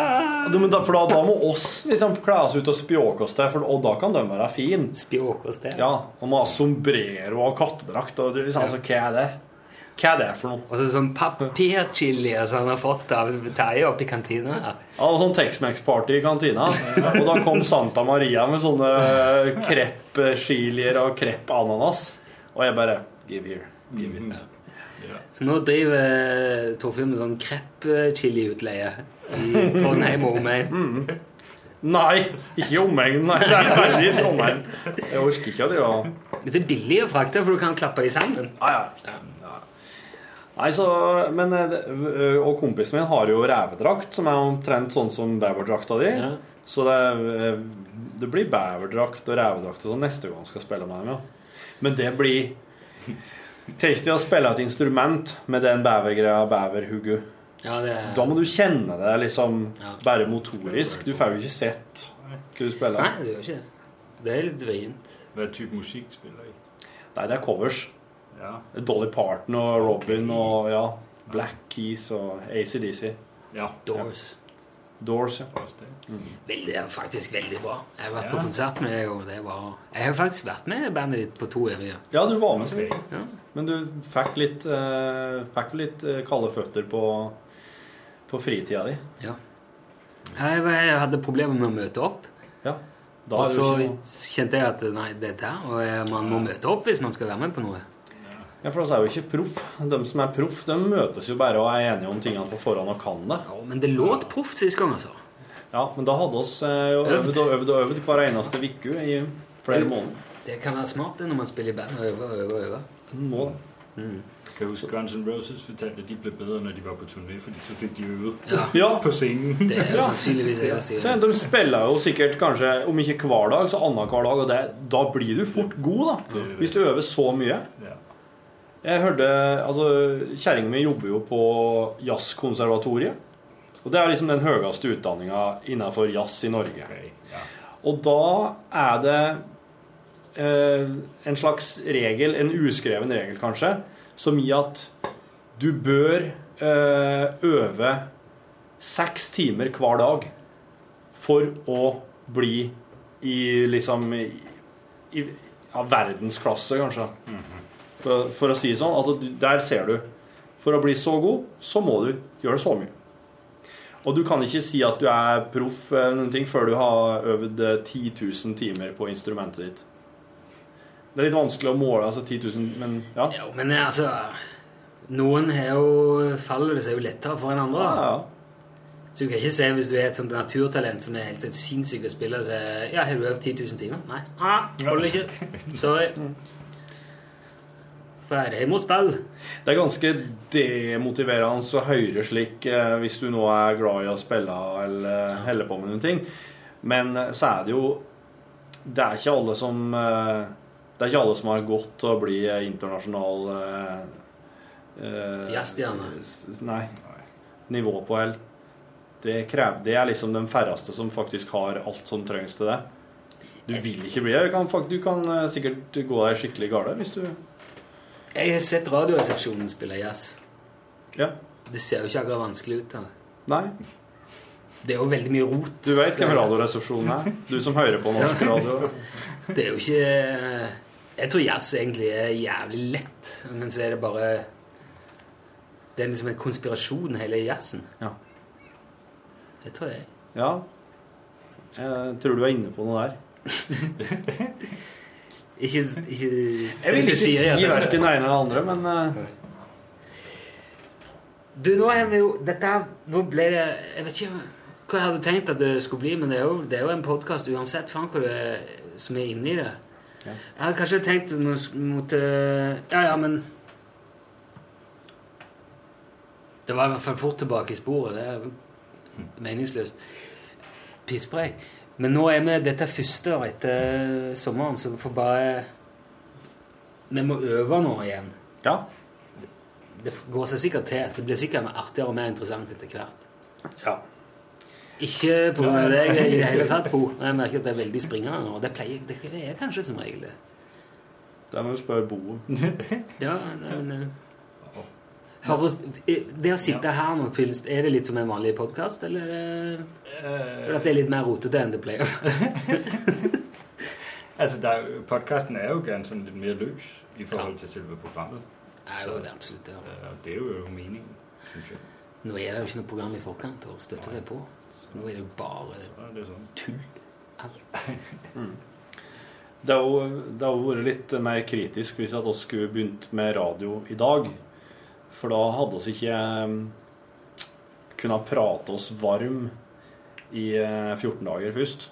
Speaker 3: Ja, men da, for da, da må oss liksom kle oss ut og spjåke oss til, for, og da kan de være fin.
Speaker 4: spjåk og sted.
Speaker 3: Ja, og må ha sombrero og kattedrakt og det, liksom, altså, hva er det? Hva er det for noe?
Speaker 4: Og så sånn papirchili altså, han har fått av Terje oppe i kantina. her.
Speaker 3: Ja, og sånn Tex-Mex-party i kantina, og da kom Santa Maria med sånne krepp-chilier og krepp-ananas, og jeg bare Give here. Give it.
Speaker 5: Ja.
Speaker 4: Så nå driver Torfinn med sånn krepp-chili-utleie i Trondheim og
Speaker 3: Mm.
Speaker 4: omegn.
Speaker 3: Nei, ikke i omegnen. Nei, det er veldig i Trondheim. Jeg orker ikke å drive og
Speaker 4: Dette er billig å frakte, for du kan klappe de sammen.
Speaker 3: Ja, ja. Ja. Nei, så, men, eh, det- ø, og kompisen min har jo revedrakt, som er omtrent sånn som beverdrakta di.
Speaker 4: Ja.
Speaker 3: Så det, eh, det blir beverdrakt og revedrakt og sånn neste gang jeg skal spille med dem. Ja. Men det blir Tasty å spille et instrument med den bevergreia, beverhugget.
Speaker 4: Ja, det er...
Speaker 3: Da må du kjenne det liksom
Speaker 4: Ja.
Speaker 3: bare motorisk. Du får jo ikke sett hva du spiller.
Speaker 4: Nei, du gjør ikke det. Det er litt vrient.
Speaker 5: Hvad type musik spiller I?
Speaker 3: Nei, det er covers.
Speaker 5: Ja.
Speaker 3: Dolly Parton og Robin og ja, Black Keys og ACDC.
Speaker 5: Ja,
Speaker 4: Doors.
Speaker 3: Doors, ja.
Speaker 5: også det.
Speaker 4: Veldig, det er faktisk veldig bra. Jeg har vært
Speaker 5: Ja.
Speaker 4: på konsert med deg, og det var Jeg har faktisk vært med bandet ditt på to revyer.
Speaker 3: Ja, du var med,
Speaker 4: Ja.
Speaker 3: men du fikk litt, eh, fikk litt eh, kalde føtter på, på fritida di.
Speaker 4: Ja. Jeg, jeg hadde problemer med å møte opp,
Speaker 3: Ja. Da
Speaker 4: og
Speaker 3: er
Speaker 4: så
Speaker 3: du ikke noe,
Speaker 4: kjente jeg at nei, det er der, og jeg- man må møte opp hvis man skal være med på noe.
Speaker 3: ja, for vi er jo ikke proff. De som er proff, de møtes jo bare og er enige om tingene på forhånd og kan det.
Speaker 4: Ja, men det låt proft sist gang, altså.
Speaker 3: Ja, men da hadde oss eh, jo
Speaker 4: Øvd.
Speaker 3: øvd og øvd og øvd hver eneste uke i flere måneder.
Speaker 4: Det kan være smart det når man spiller i band og øver og øver. og øver.
Speaker 3: En måned.
Speaker 5: Kan jeg huske, Guns N' Roses fortalte, at de blev bedre, når de var på turné, fordi så fik de øvet
Speaker 4: Ja,
Speaker 3: Ja,
Speaker 5: på scenen.
Speaker 4: det er jo
Speaker 3: Ja.
Speaker 4: sannsynligvis jeg som
Speaker 3: Ja,
Speaker 4: sier det.
Speaker 3: De spiller jo sikkert kanskje, om ikke hver dag, så annenhver dag. Og det, da blir du fort god, da. Hvis du øver så mye.
Speaker 5: Ja.
Speaker 3: Jeg hørte Altså, kjerringa mi jobber jo på jazzkonservatoriet. Og det er liksom den høyeste utdanninga innenfor jazz i Norge.
Speaker 5: Okay. Ja.
Speaker 3: Og da er det eh, en slags regel, en uskreven regel kanskje, som gir at du bør eh, øve seks timer hver dag for å bli i liksom i, i ja, verdensklasse, kanskje. for, for å si det sånn. Altså, du- der ser du. For å bli så god, så må du gjøre så mye. Og du kan ikke si at du er proff eller noen ting før du har øvd eh, 10 000 timer på instrumentet ditt. Det er litt vanskelig å måle, altså 10 000, men ja.
Speaker 4: Jo, men altså Noen har jo faller det seg jo lettere for enn andre.
Speaker 3: Ja, ja.
Speaker 4: Så du kan ikke se hvis du er et sånt naturtalent som er helt sånn sinnssyk å spille, og så er, ja, har du øvd 10 000 timer? Nei. Ah, holder ikke. Sorry. Ferdig med spill.
Speaker 3: Det er ganske demotiverende å høre slik eh, hvis du nå er glad i å spille eller holder på med noen ting. Men eh, så er det jo Det er ikke alle som eh, Det er ikke alle som har gått til å bli eh, internasjonal eh, eh,
Speaker 4: Jazzstjerne.
Speaker 3: s- Nei. Nivå på L. Det, krever, det er liksom den færreste som faktisk har alt som trengs til det. Du vil ikke bli det. Du kan, fakt- du kan eh, sikkert gå deg skikkelig gale hvis du
Speaker 4: Jeg har sett Radioresepsjonen spille jazz.
Speaker 3: Ja.
Speaker 4: Det ser jo ikke akkurat vanskelig ut. da.
Speaker 3: Nei.
Speaker 4: Det er jo veldig mye rot.
Speaker 3: Du vet hvem Radioresepsjonen er? Du som hører på norsk radio.
Speaker 4: Det er jo ikke eh, Jeg tror jazz egentlig er jævlig lett, men så er det bare Det er liksom en konspirasjon, hele jazzen.
Speaker 3: Ja.
Speaker 4: Det tror jeg.
Speaker 3: ja. Jeg tror du er inne på noe der.
Speaker 4: Ikke, ikke
Speaker 3: Jeg vil ikke si verken det ene eller det andre, men eh,
Speaker 4: Du, nå er vi jo Dette her- Nå ble det Jeg vet ikke hva jeg hadde tenkt at det skulle bli, men det er jo, det er jo en podkast uansett faen hva det er som er inni det. Jeg hadde kanskje tenkt mot, mot eh, Ja, ja, men Det var i hvert fall fort tilbake i sporet. Det er jo meningsløst. Pisspreik. Men nå er vi dette er første da, etter sommeren, så vi får bare Vi må øve nå igjen
Speaker 3: ja.
Speaker 4: det går seg sikkert til. Det blir sikkert mer artigere og mer interessant etter hvert.
Speaker 3: ja.
Speaker 4: Ikke på grunn av deg i det hele tatt, Bo. Jeg merker at det er veldig springende nå. Det pleier det er kanskje som regel det.
Speaker 3: Der må du spørre Bo om.
Speaker 4: Ja, nei, men, eh, Høres, det å sitte her nå, fylles- er det litt som en vanlig podkast, eller eh, tror du at det er litt mer rotete enn det pleier?
Speaker 5: Altså, der, er jo- podcasten er jo gerne sådan lidt mere løs i forhold
Speaker 4: Ja.
Speaker 5: til selve programmet.
Speaker 4: Nei, jo, det er absolutt det.
Speaker 5: Øh, Og det er jo meningen, synes jeg.
Speaker 4: Nå er det jo ikke noe program i forkant å støtte seg på. Nå er det jo bare
Speaker 5: Så er det sådan.
Speaker 4: tull. Alt.
Speaker 3: Det har jo det har jo vært litt mer kritisk hvis at oss skulle begynt med radio i dag. For da hadde oss ikke eh, kunnet prate oss varm i eh, 14 dager først.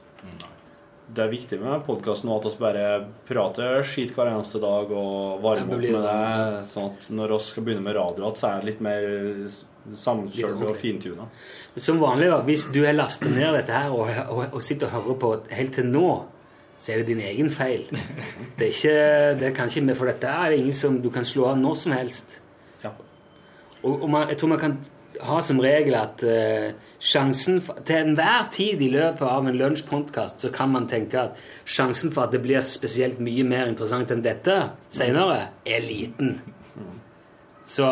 Speaker 3: Det er viktig med podkasten at vi bare prater skit hver eneste dag og
Speaker 4: Ja,
Speaker 3: varmer
Speaker 4: men
Speaker 3: opp
Speaker 4: blir
Speaker 3: med
Speaker 4: det-
Speaker 3: det. Sånn at når vi skal begynne med radio, at så er det litt mer s- samkjørt og
Speaker 4: ordentlig.
Speaker 3: fintuna.
Speaker 4: Som vanlig, da, hvis du har lastet ned dette her og, og, og sitter og hører på helt til nå, så er det din egen feil. Det er ikke, det kan ikke vi, for dette er ingen som du kan slå av når som helst.
Speaker 3: Ja.
Speaker 4: Og, og man, jeg tror man kan ha som regel at eh, sjansen for, Til enhver tid i løpet av en lunsjpodkast så kan man tenke at sjansen for at det blir spesielt mye mer interessant enn dette seinere, er liten. Så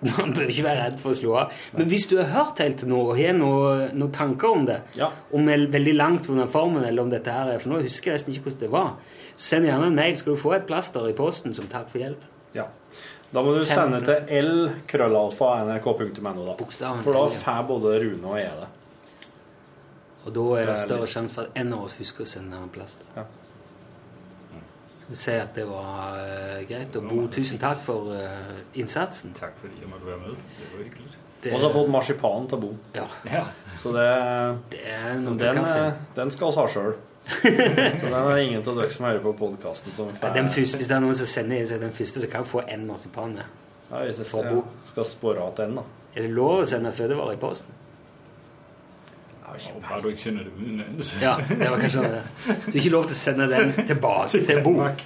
Speaker 4: man bør ikke være redd for å slå av. Men hvis du har hørt helt til nå og har noen noe tanker om det,
Speaker 3: Ja.
Speaker 4: om det er veldig langt under formen, eller om dette her er For nå husker jeg nesten ikke hvordan det var. Send gjerne en mail, skal du få et plaster i posten som takk for hjelp.
Speaker 3: Ja. Da må du
Speaker 4: Fem
Speaker 3: sende til l.krøllalfa.nrk.no, da.
Speaker 4: Bokstaven
Speaker 3: For da
Speaker 4: L, ja.
Speaker 3: får både Rune og jeg det.
Speaker 4: Og da er det
Speaker 3: Deilig.
Speaker 4: større sjanse for at en av oss husker å sende en plaster.
Speaker 3: Ja.
Speaker 4: Vi sier at det var eh, greit. Og Bo, tusen takk for eh, innsatsen.
Speaker 5: Tak fordi jeg måtte være med. Det var hyggeligt.
Speaker 4: Det,
Speaker 3: Og så har vi fått marsipan til Bo.
Speaker 4: ja,
Speaker 5: Ja.
Speaker 3: Så det
Speaker 4: det er noe til
Speaker 3: Den,
Speaker 4: kaffe.
Speaker 3: eh, den skal vi ha sjøl. Så den er ingen av dere som hører på podkasten som
Speaker 4: Ja, den første, hvis det er noen som sender inn seg den første, så kan jeg få en marsipan med.
Speaker 3: Ja, hvis jeg
Speaker 4: for
Speaker 3: skal,
Speaker 4: Bo.
Speaker 3: skal spore av til den, da.
Speaker 4: Er det lov å sende fødevarer i posten?
Speaker 5: Og bare du ikke sender det udenlands.
Speaker 4: Ja, det var kanskje det. Så ikke lov til å sende den tilbake til Bo.
Speaker 5: Nej.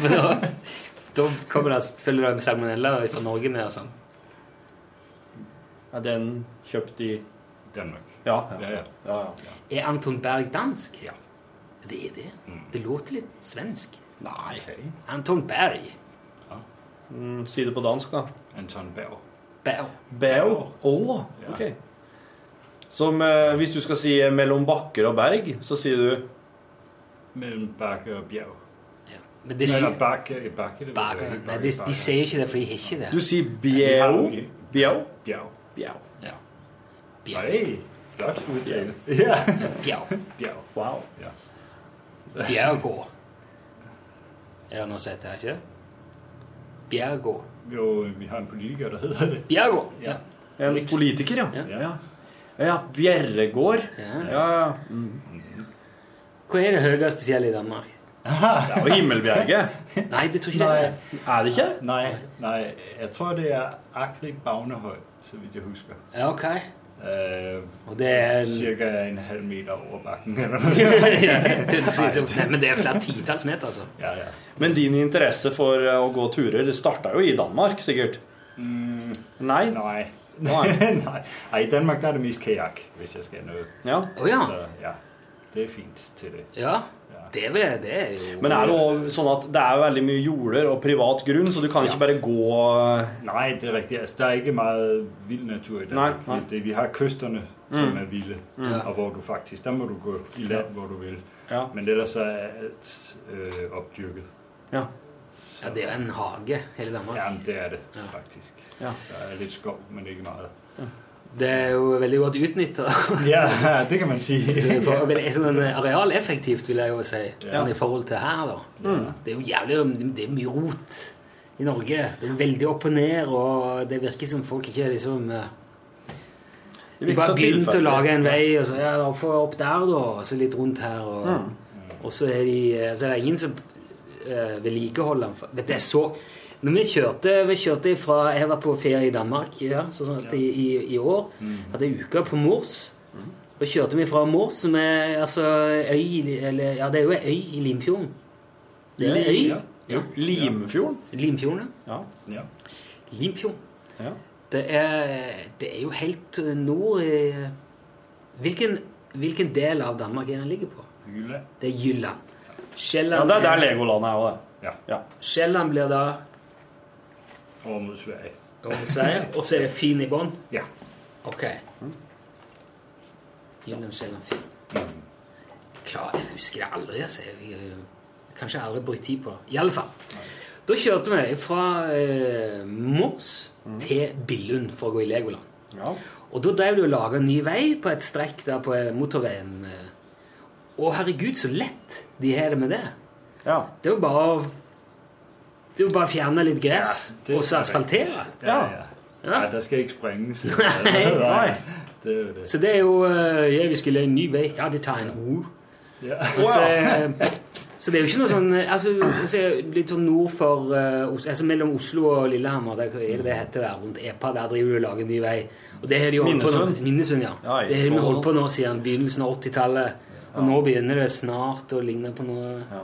Speaker 4: For da, da kommer det følger det med salmonella fra Norge med og sånn.
Speaker 3: Er den kjøpt i
Speaker 5: Danmark.
Speaker 3: Ja.
Speaker 5: Ja, ja.
Speaker 3: ja, ja.
Speaker 4: Er Anton Berg dansk?
Speaker 5: Ja.
Speaker 4: Det er det. Det låter litt svensk.
Speaker 5: Nej. Okay.
Speaker 4: Anton Berg.
Speaker 3: Mm, Si det på dansk, da.
Speaker 5: Anton Berg.
Speaker 4: Berg.
Speaker 3: Bæo. E Å, ok. Som eh, hvis du skal si eh, 'mellom bakker og berg', så sier du
Speaker 5: Mellem bakke og bjerg.
Speaker 4: Ja. Men det,
Speaker 5: Eller bakke, øh, bakke, det
Speaker 4: Berg,
Speaker 5: vil være.
Speaker 4: nei, de, de sier jo ikke det, for de har ikke
Speaker 3: Du
Speaker 4: det.
Speaker 3: sier E 'bjau'. Bjau.
Speaker 5: Bjerg.
Speaker 3: Bjau.
Speaker 4: Ja. Bjerg.
Speaker 5: Nej, flot udtale. Ja.
Speaker 4: Bjerg.
Speaker 5: Bjerg.
Speaker 3: Wow.
Speaker 5: Ja.
Speaker 4: Bjergå. Er det noe som heter det, ikke det? Bjergå.
Speaker 5: Jo, øh, vi har en politiker, der hedder det.
Speaker 4: Bjergå! Ja.
Speaker 3: En politiker, ja.
Speaker 4: Ja.
Speaker 3: Ja, ja Bjerregård.
Speaker 4: Ja.
Speaker 3: Ja, ja. Mm.
Speaker 4: Hva er det høyeste fjellet i Danmark?
Speaker 3: Det er jo Himmelbjerget.
Speaker 4: Nei, det tror jeg ikke det er.
Speaker 3: Er det ikke?
Speaker 5: Nej, nej, jeg tror, det er Akri Bagnehøj, så vidt jeg husker.
Speaker 4: Ja, ok.
Speaker 5: Øh,
Speaker 4: Og det er en...
Speaker 5: cirka en halv meter over bakken. Eller noget.
Speaker 4: Ja, det er sånn- Nei, men det er flere titalls meter, altså.
Speaker 5: ja, ja.
Speaker 3: Men din interesse for eh, å gå turer det starta jo i Danmark, sikkert? Mm. Nei?
Speaker 5: Nej.
Speaker 3: Nei.
Speaker 5: Nej. Ej, i Danmark der er det mest kajak, hvis jeg skal noget.
Speaker 3: Ja.
Speaker 4: Å ja.
Speaker 5: Så ja, det er fint til det.
Speaker 4: Ja. Det er vel det er jo
Speaker 3: Men er det også sånn at det er veldig mye jorder og privat grunn, så du kan ikke bare gå eh,
Speaker 5: Nej, det er rigtigt. Altså, der er ikke meget vild natur i
Speaker 3: Nej,
Speaker 5: Danmark.
Speaker 3: nej. Mm.
Speaker 5: Det- Det, vi har kysterne, som er vilde,
Speaker 4: Ja.
Speaker 5: og hvor du faktisk, der må du gå i land, hvor du vil.
Speaker 3: Ja.
Speaker 5: Men ellers så er alt øh, opdyrket.
Speaker 3: ja.
Speaker 4: Ja, det er jo en hage, hele Danmark.
Speaker 5: Jamen, det er det
Speaker 4: Ja.
Speaker 5: faktisk.
Speaker 3: Ja.
Speaker 5: Der er lidt skov, men ikke meget.
Speaker 4: Det er jo veldig godt utnytta.
Speaker 5: Ja, det kan man sige.
Speaker 4: Sånn arealeffektivt, vil jeg jo si.
Speaker 5: Ja.
Speaker 4: Sånn i forhold til her, da. Det er jo jævlig Det er mye rot i Norge. Det er veldig opp og ned, og det virker som folk ikke liksom eh,
Speaker 3: Det
Speaker 4: De
Speaker 3: virker
Speaker 4: bare
Speaker 3: så
Speaker 4: begynte å
Speaker 3: tilfeldig.
Speaker 4: lage en vei, og så ja, da får jeg opp der, da, og så litt rundt her. Og, og så, er de, så er det ingen som eh, vedlikeholder den. for- Vet du, jeg så Når vi kjørte, vi kjørte fra Jeg var på ferie i Danmark ja, Mm. så sånn at i, i, i år. Hadde en uke på Mors. Da kjørte vi fra Mors, som er altså øy eller, Ja, det er jo ei øy i Limfjorden. Det er en øy.
Speaker 3: Ja. Jo, Limfjorden?
Speaker 4: Limfjorden.
Speaker 3: Ja.
Speaker 5: Ja.
Speaker 4: ja. Limfjorden.
Speaker 3: ja.
Speaker 4: Det er, det er jo helt eh, nord i Hvilken, hvilken del av Danmark er den ligger på?
Speaker 5: Jylland.
Speaker 4: Det er Jylland.
Speaker 3: ja
Speaker 4: Sjælland,
Speaker 3: det er der
Speaker 4: blir-
Speaker 3: Legoland er òg,
Speaker 5: Ja,
Speaker 3: det. Ja.
Speaker 4: Sjælland blir da
Speaker 5: over mod Sverige.
Speaker 4: over Sverige, og så er det Fyn i bånn.
Speaker 5: Ja.
Speaker 4: Ok. Jylland, Sjælland, Fyn.
Speaker 5: Mm.
Speaker 4: Klar, jeg husker det aldri. Altså. Jeg, jeg, jeg, kanskje jeg aldri brukt tid på det. I alle fall. Da kjørte vi fra eh, Moss
Speaker 3: Mm.
Speaker 4: til Billund for å gå i Legoland.
Speaker 3: ja.
Speaker 4: Og da drev de og laga ny vei på et strekk der på eh, motorveien. eh. Å, herregud, så lett de har det med det.
Speaker 3: ja.
Speaker 4: Det er jo bare å Det er jo bare å fjerne litt gress
Speaker 5: Ja, det
Speaker 4: og så
Speaker 5: er
Speaker 4: asfaltere.
Speaker 5: Ja,
Speaker 3: Ja.
Speaker 5: ja.
Speaker 4: Ja.
Speaker 5: Nei, der skal ikke sprenges.
Speaker 3: Nei.
Speaker 5: Det er jo det.
Speaker 4: Så det er jo eh, Ja, vi skulle ha en ny vei. Ja, de tar en ho.
Speaker 5: Ja.
Speaker 4: Og Så, eh, så det er jo ikke noe sånn eh, altså, altså, Litt sånn nord for eh, Os- altså, Mellom Oslo og Lillehammer, der, hva er det det heter der? Rundt EPA, der driver du og lager en ny vei. Og det har de holdt på
Speaker 3: Minnesund.
Speaker 4: nå. Minnesund, ja.
Speaker 3: Ja, i
Speaker 4: Det har vi
Speaker 3: Svolvær.
Speaker 4: holdt på nå siden begynnelsen av 80-tallet. Og nå begynner det snart å ligne på noe
Speaker 3: Ja.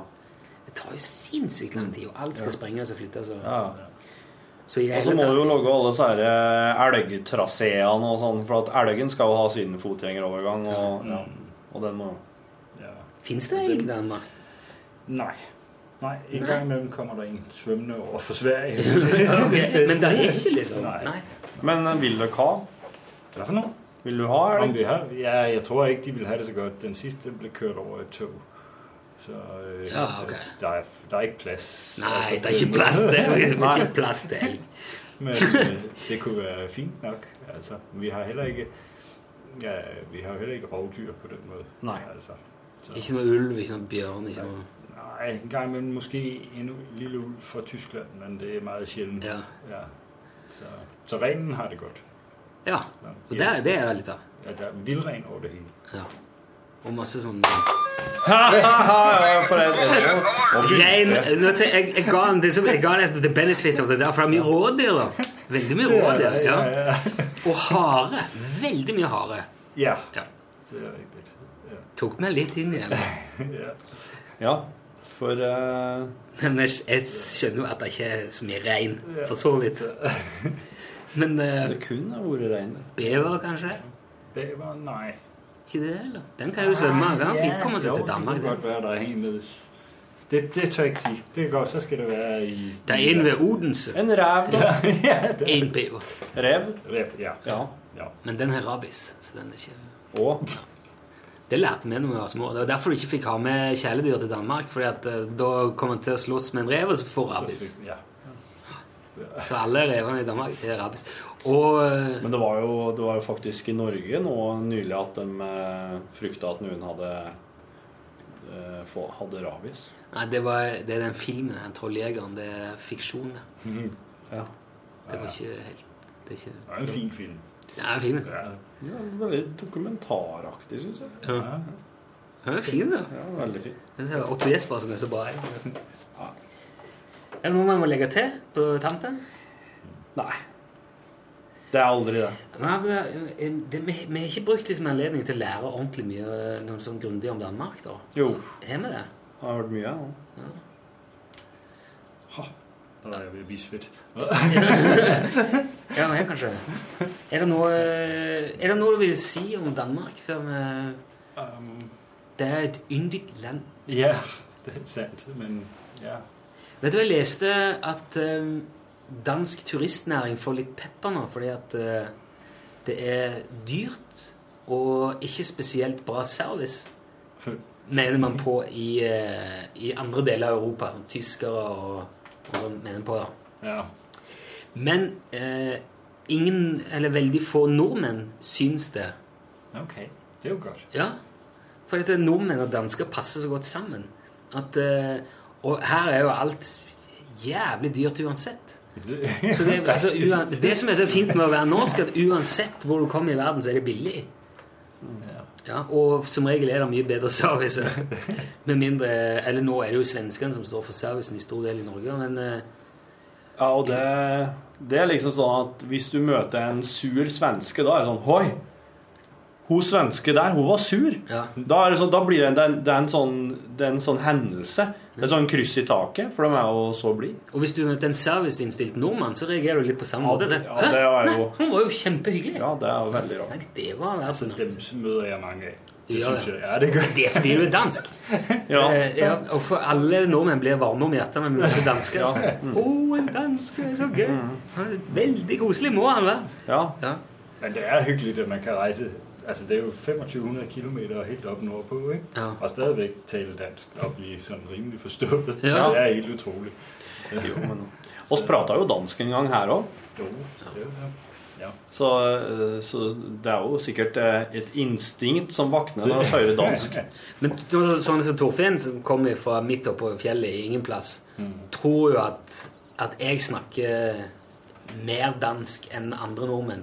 Speaker 4: Det tar jo sinnssykt lang tid, og alt skal sprenges og flyttes. Og,
Speaker 3: Ja.
Speaker 4: så i det
Speaker 3: Og så
Speaker 4: hele
Speaker 3: må
Speaker 4: tatt-
Speaker 3: du jo lage alle disse her, eh, elgtraseene og sånn, for at elgen skal jo ha sin fotgjengerovergang, og, ja. og den må
Speaker 5: Ja.
Speaker 4: Fins det elg i Danmark?
Speaker 5: Nei. Nei, en
Speaker 4: Nei.
Speaker 5: gang imellom kommer der en svømmende over for Sverige.
Speaker 4: Ok, Men det er ikke, liksom.
Speaker 5: Nei.
Speaker 4: Nei.
Speaker 3: Men eh, vil dere ha?
Speaker 5: Hvad for noget?
Speaker 3: Vil du ha
Speaker 5: Om
Speaker 3: elg?
Speaker 5: vi har, ja, jeg tror ikke, de ville have det så godt. Den sidste blev kørt over et tog. Så øh,
Speaker 4: Ja, okay.
Speaker 5: der, er, der er ikke plads.
Speaker 4: Nei, det er
Speaker 5: den-
Speaker 4: ikke plass til det er ikke plass til elg.
Speaker 5: Men øh, det kunne være fint nok. Altså, vi har heller ikke, ja, vi har heller ikke rovdyr på den måde.
Speaker 3: Nej.
Speaker 5: Altså, så,
Speaker 4: Ikke noe ulv, ikke noe bjørn, ikke noe
Speaker 5: nej, en gang imellem måske en lille ulv fra Tyskland, men det er meget sjældent.
Speaker 4: Ja.
Speaker 5: ja. Så, så renen har det godt.
Speaker 4: Ja.
Speaker 5: Nå,
Speaker 4: Og det, det er det litt av.
Speaker 5: Ja, der er vildren over det hele.
Speaker 4: Ja. Og masse sånn
Speaker 3: Ja, for jeg,
Speaker 4: Rein nå til- Jeg, jeg ga han det som jeg ga han the benefit of det der, for det er mye rådyr, da. Veldig mye rådyr. Ja.
Speaker 5: ja.
Speaker 4: Og hare. Veldig mye hare.
Speaker 5: ja.
Speaker 4: Ja.
Speaker 5: det er rigtigt. Ja.
Speaker 4: Tok meg litt inn igjen.
Speaker 5: ja.
Speaker 3: ja, for eh,
Speaker 4: Men jeg, jeg skjønner jo at det ikke er så mye rein, for så vidt. Men eh,
Speaker 3: det kunne ha vært rein.
Speaker 4: bever, kanskje?
Speaker 5: Bæver, nej.
Speaker 4: Ikke det, eller? Den kan jo svømme. Den kan fint komme seg
Speaker 5: jo,
Speaker 4: til Danmark.
Speaker 5: Det kan
Speaker 4: den.
Speaker 5: godt være, der er en med. Det, det tør jeg ikke sige. Det er godt, så skal det være i...
Speaker 4: Det er en ved Odense.
Speaker 3: En rev, da.
Speaker 4: En bever.
Speaker 3: Rev.
Speaker 5: Rep, ja.
Speaker 3: Ja.
Speaker 5: ja.
Speaker 4: Men den har rabies, så den er ikke
Speaker 3: Og
Speaker 4: Det lærte vi da vi var små. Det var derfor du ikke fikk ha med kjæledyr til Danmark. fordi at eh, da kom han til å slåss med en rev, og så får
Speaker 5: Så
Speaker 4: rabies.
Speaker 5: fik- ja.
Speaker 4: Så alle revene i Danmark har rabies. Og eh,
Speaker 3: Men det var, jo, det var jo faktisk i Norge nå nylig at de eh, frykta at noen hadde eh, få, hadde rabies.
Speaker 4: Nei, det, var, det er den filmen, den trolljegeren. Det er fiksjon. det.
Speaker 3: Ja.
Speaker 4: Det var ikke helt Det er ikke
Speaker 5: Det er en fin film.
Speaker 4: Ja, den er fin.
Speaker 5: Ja.
Speaker 3: ja veldig dokumentaraktig, syns jeg.
Speaker 4: Ja. Den er fin, da.
Speaker 3: Ja, veldig fin.
Speaker 4: Jeg ser Otto Jespersen er så bra. jeg. Er det noe man må legge til på tampen?
Speaker 3: Nei. Det er aldri det.
Speaker 4: Nei, men det, er- det, vi, vi har ikke brukt liksom anledning til å lære ordentlig mye eh, noe sånn grundig om Danmark. da.
Speaker 3: Jo.
Speaker 4: Har vi det?
Speaker 3: Jeg har hørt mye, jeg. nå.
Speaker 5: Der er jeg ved at blive svedt.
Speaker 4: Ja, vi har kanskje det. Er det, noe, eh, er det noe du vil si om Danmark før vi
Speaker 5: Um,
Speaker 4: Det er et yndig land.
Speaker 5: ja, det er sandt, men ja.
Speaker 4: Vet du, jeg leste at eh, dansk turistnæring får litt pepper nå fordi at eh, det er dyrt og ikke spesielt bra service. mener man på i, eh, i andre deler av Europa. Som tyskere og, og sånn mener man på. Da.
Speaker 5: Ja.
Speaker 4: Men eh, ingen, eller veldig få nordmenn syns det.
Speaker 5: Okay. Det er jo godt.
Speaker 4: Ja, for dette nordmenn og dansker passer så godt sammen. At, eh, og her er jo alt jævlig dyrt uansett.
Speaker 5: Det,
Speaker 4: Så det, altså, uan, det som er så fint med å være norsk, at uansett hvor du kommer i verden, så er det billig. Ja, og som regel er det mye bedre service. Med mindre Eller nå er det jo svenskene som står for servicen i stor del i Norge, men eh,
Speaker 3: Ja, og det, det er liksom sånn at hvis du møter en sur svenske, da er det sånn Hoi! Hun svenske der, hun var sur.
Speaker 4: Ja.
Speaker 3: Da, er det sånn, da blir det en, det er en- det er en sånn, det er en sånn hendelse. Det er sånn kryss i taket, for de er jo så blide.
Speaker 4: Og hvis du møter en serviceinnstilt nordmann, så reagerer du litt på samme
Speaker 3: Ja,
Speaker 4: måte.
Speaker 3: det- ja,
Speaker 4: Hæ?
Speaker 3: det er
Speaker 4: Nei,
Speaker 3: jo-
Speaker 4: Hun var jo kjempehyggelig.
Speaker 3: Ja, Altså, det er jo veldig
Speaker 4: Nei,
Speaker 3: rart.
Speaker 4: det var verden.
Speaker 5: dem møder jeg mange af. Det
Speaker 4: Ja,
Speaker 5: synes
Speaker 4: ja.
Speaker 5: jeg. Ja, det gør
Speaker 4: Det er fordi du er dansk.
Speaker 3: Ja,
Speaker 4: Eh, ja, og for alle nordmenn blir varme om hjertet når vi møter dansker. Å,
Speaker 3: Mm.
Speaker 4: en danske er så gøy! Han er Veldig koselig må han være.
Speaker 3: ja.
Speaker 4: Ja.
Speaker 5: Men det er hyggeligt, at man kan rejse. Altså, det er jo 2500 km helt op nordpå, ikke?
Speaker 4: Ja.
Speaker 5: Og stadigvæk tale dansk og blive sådan rimelig forstået.
Speaker 4: Ja.
Speaker 5: Det er helt utroligt.
Speaker 3: Jo, men oss prata jo dansk en gang her òg,
Speaker 5: Jo, det er jo det. Ja.
Speaker 3: så, eh, så det er jo sikkert eh, et instinkt som våkner når vi hører dansk.
Speaker 4: Men t-
Speaker 3: Mm.
Speaker 4: sånn som Torfinn, som kommer fra midt oppe på fjellet i ingen plass, tror jo at at jeg snakker mer dansk enn andre nordmenn.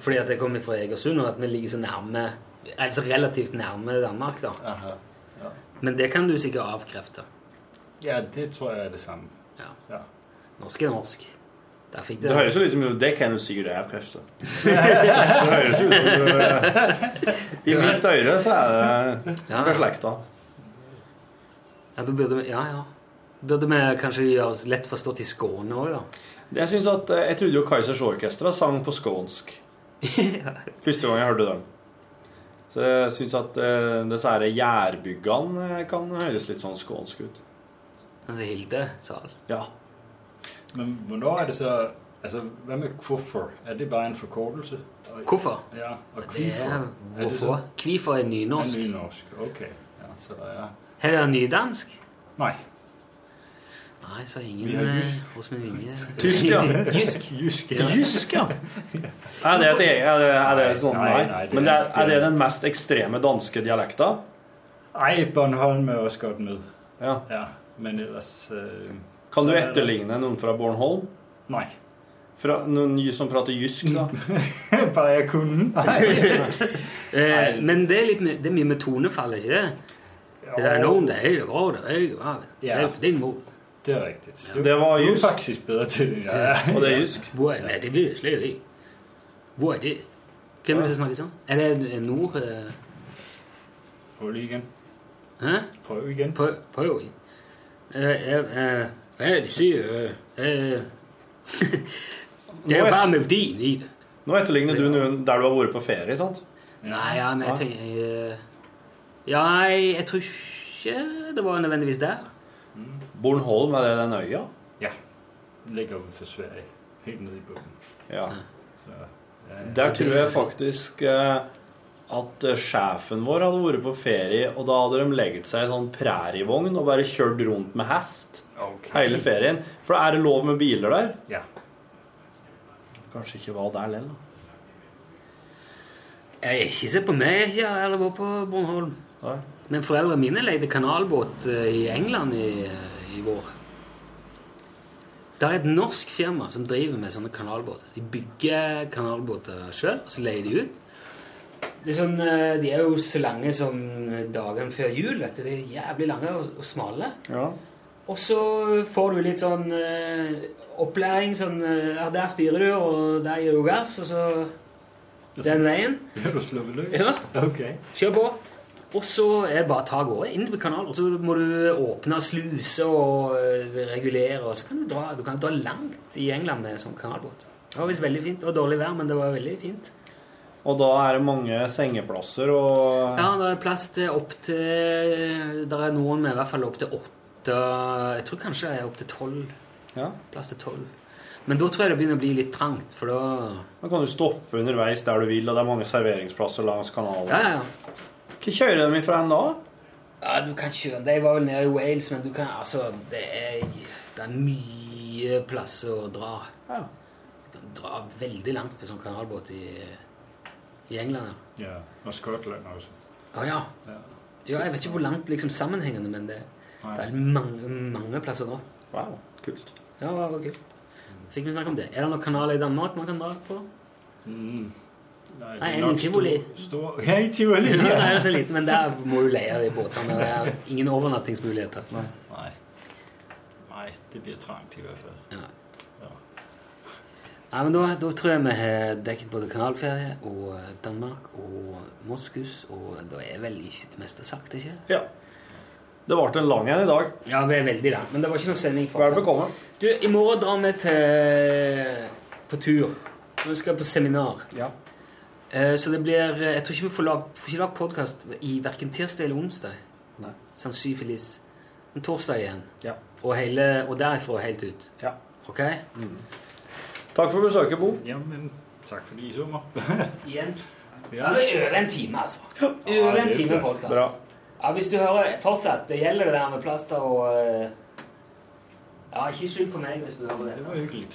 Speaker 4: Fordi at jeg kommer fra Egersund, og at vi ligger så nærme Altså relativt nærme Danmark, da.
Speaker 5: Aha.
Speaker 4: Men det kan du sikkert avkrefte.
Speaker 5: Ja, det tror jeg er det samme.
Speaker 4: Ja.
Speaker 5: Ja.
Speaker 4: Norsk er norsk. Der fikk
Speaker 3: Det
Speaker 4: det.
Speaker 3: høres jo litt som jo, Det kan du sikkert avkrefte. Det høres jo ut som du eh, I mitt øre så er det
Speaker 4: Ja.
Speaker 3: beslekta.
Speaker 4: Ja, da burde vi, ja, ja. Burde vi kanskje gjøre oss lett forstått i Skåne òg, da?
Speaker 3: Jeg synes at, eh, jeg trodde jo Kaizers Orkestra sang på skånsk. Første gang jeg hørte dem. Så jeg syns at eh, disse her gjærbyggene eh, kan høres litt sånn skånsk ut.
Speaker 4: Altså Hilde Sal.
Speaker 3: Ja.
Speaker 5: Men hvornår er det så Altså, hvad med kuffer? Er det bare en forkortelse? Og,
Speaker 4: Hvorfor?
Speaker 5: Ja, og
Speaker 4: Det
Speaker 5: kvifer.
Speaker 4: er
Speaker 5: det så-
Speaker 4: hvorfor. Kvifor er
Speaker 5: Er
Speaker 4: nynorsk.
Speaker 5: nynorsk. Okay. Ja, så der er...
Speaker 4: Her er det nydansk.
Speaker 5: Nej.
Speaker 4: Nei, sa ingen
Speaker 5: Vi har
Speaker 4: eh,
Speaker 5: jysk.
Speaker 4: hos min vinge.
Speaker 3: Tysk, ja.
Speaker 4: Jysk.
Speaker 5: Jysk, ja.
Speaker 3: Jysk, ja! Er det, et, e- er det, er det sånn
Speaker 5: Nei,
Speaker 3: Nei.
Speaker 5: nei, det-
Speaker 3: Men det er, er det den mest ekstreme danske dialekta?
Speaker 5: Ej, Bornholm er også godt med.
Speaker 3: Ja.
Speaker 5: Ja, men ellers... Øh,
Speaker 3: Kan du etterligne noen fra Bornholm?
Speaker 5: Nej.
Speaker 3: Fra, noen jy- som prater jysk, da?
Speaker 5: bare jeg kunne.
Speaker 4: Eh, men det er, litt, my- det er mye med tonefall, ikke det? Det er noen det er det var det er det var det. Det er
Speaker 5: Ja.
Speaker 4: på din mor.
Speaker 5: Det er rigtigt. Du,
Speaker 3: Det var
Speaker 5: du er
Speaker 3: jysk,
Speaker 5: faktisk bedre til det. Ja.
Speaker 3: og det er jysk.
Speaker 4: Hvor er det? Det vet jeg slet ikke. Hvor er det? Hvem er det som snakker sånn? Er det eh, nord... eh,
Speaker 5: Prøv lige igen.
Speaker 4: Hæ?
Speaker 5: Prøv igen.
Speaker 4: Prøv, prøv igjen. Eh, eh, eh, Hva er det du sier? eh, eh? Det er jo bare melodien i det.
Speaker 3: Nå etterligner du noen der du har vært på ferie, sant?
Speaker 4: Nei, ja, men jeg tenker jeg, eh, Ja, jeg, jeg tror ikke det var nødvendigvis der.
Speaker 3: Bornholm, er det den øya?
Speaker 5: Ja. Ligger ude for Sverige. Helt nede i bunden.
Speaker 3: Ja.
Speaker 5: Så, ja.
Speaker 3: Der tror jeg faktisk eh, at eh, sjefen vår hadde vært på ferie, og da hadde de legget seg i sånn prærievogn og bare kjørt rundt med hest
Speaker 5: Okay.
Speaker 3: hele ferien. For er det lov med biler der?
Speaker 5: Ja.
Speaker 3: Kanskje ikke var der lell, da.
Speaker 4: Jeg er ikke se på meg, jeg har aldri vært på Bornholm.
Speaker 3: Nei.
Speaker 4: Men foreldrene mine leide kanalbåt eh, i England i, eh, i vår. Det er et norsk firma som driver med sånne kanalbåter. De bygger kanalbåter sjøl, og så leier de ut. Det er sånn, eh, de er jo så lange som dagen før jul. vet du. De er jævlig lange og, og smale.
Speaker 3: Ja.
Speaker 4: Og så får du litt sånn eh, opplæring sånn eh, ja, Der styrer du, og der gir du gass, og så den veien.
Speaker 5: Er du sluppet løs?
Speaker 4: Ja.
Speaker 5: Okay.
Speaker 4: Kjør på. Og så er det bare å ta av gårde inn på kanalen. Og så må du åpne sluser og eh, regulere. Og så kan du dra, du kan dra langt i England med en sånn kanalbåt. Det var visst veldig fint. Det var dårlig vær, men det var veldig fint.
Speaker 3: Og da er det mange sengeplasser og
Speaker 4: Ja, det er plass til opp til Det er noen med i hvert fall opp til åtte Jeg tror kanskje det er opp til tolv.
Speaker 3: Ja.
Speaker 4: Plass til tolv. Men da tror jeg det begynner å bli litt trangt, for da
Speaker 3: Da kan du stoppe underveis der du vil, og det er mange serveringsplasser langs kanalen.
Speaker 4: Ja, ja, ja.
Speaker 3: Hva kjører de ifra en da?
Speaker 4: ja du kan kjøre De var vel nede i Wales, men du kan Altså, det er, det er mye plasser å dra.
Speaker 3: Ja.
Speaker 4: Du kan dra veldig langt på sånn kanalbåt i, i England. ja.
Speaker 5: Ja, og Skotland også.
Speaker 4: Å ja.
Speaker 5: Ja.
Speaker 4: ja. Jeg vet ikke hvor langt liksom, sammenhengende, men det,
Speaker 5: Nei.
Speaker 4: det er mange, mange plasser nå.
Speaker 3: Wow, kult.
Speaker 4: Ja, det var kult. Fikk vi snakke om det. Er det noen kanaler i Danmark man kan dra på?
Speaker 5: Mm. Nej, det
Speaker 4: Nej,
Speaker 5: er
Speaker 4: en
Speaker 5: nok
Speaker 4: i Tivoli.
Speaker 5: stor- Stor... Ja, i Tivoli.
Speaker 4: Ja, det er jo så liten, men der må du leie de båtene. Det er ingen overnattingsmuligheter.
Speaker 5: Nej. Nej, det bliver trangt i hvert fald.
Speaker 4: Ja.
Speaker 5: Ja.
Speaker 4: Nei, men da, da tror jeg vi har dekket både kanalferie og eh, Danmark og Moskus, og da er vel ikke det meste sagt, ikke?
Speaker 3: Ja. Det ble en lang en i dag.
Speaker 4: Ja, vi er veldig langt, men det var ikke noen sending for
Speaker 3: Vær bekomme.
Speaker 4: Du, i morgen drar vi til på tur. Vi skal på seminar.
Speaker 3: Ja.
Speaker 4: Eh, Så det blir Jeg tror ikke vi får lag, får ikke lag podkast i hverken tirsdag eller onsdag.
Speaker 3: Nei.
Speaker 4: Sannsynligvis. Men torsdag igjen.
Speaker 3: Ja.
Speaker 4: Og, hele, og derifra og helt ut.
Speaker 3: ja.
Speaker 4: OK?
Speaker 3: Takk for besøket, Bo.
Speaker 5: Jamen, tak fordi I så mig.
Speaker 4: Igjen. Ja,
Speaker 5: Ja.
Speaker 4: det er over en time, altså. Over
Speaker 5: Ja,
Speaker 4: en
Speaker 5: det er
Speaker 4: time
Speaker 5: flott.
Speaker 4: podkast.
Speaker 3: Bra.
Speaker 4: Ja, hvis du hører fortsatt Det gjelder det der med plaster og eh, Ja, ikke skyld på meg hvis du hører
Speaker 5: Det
Speaker 4: dette.
Speaker 5: var hyggeligt.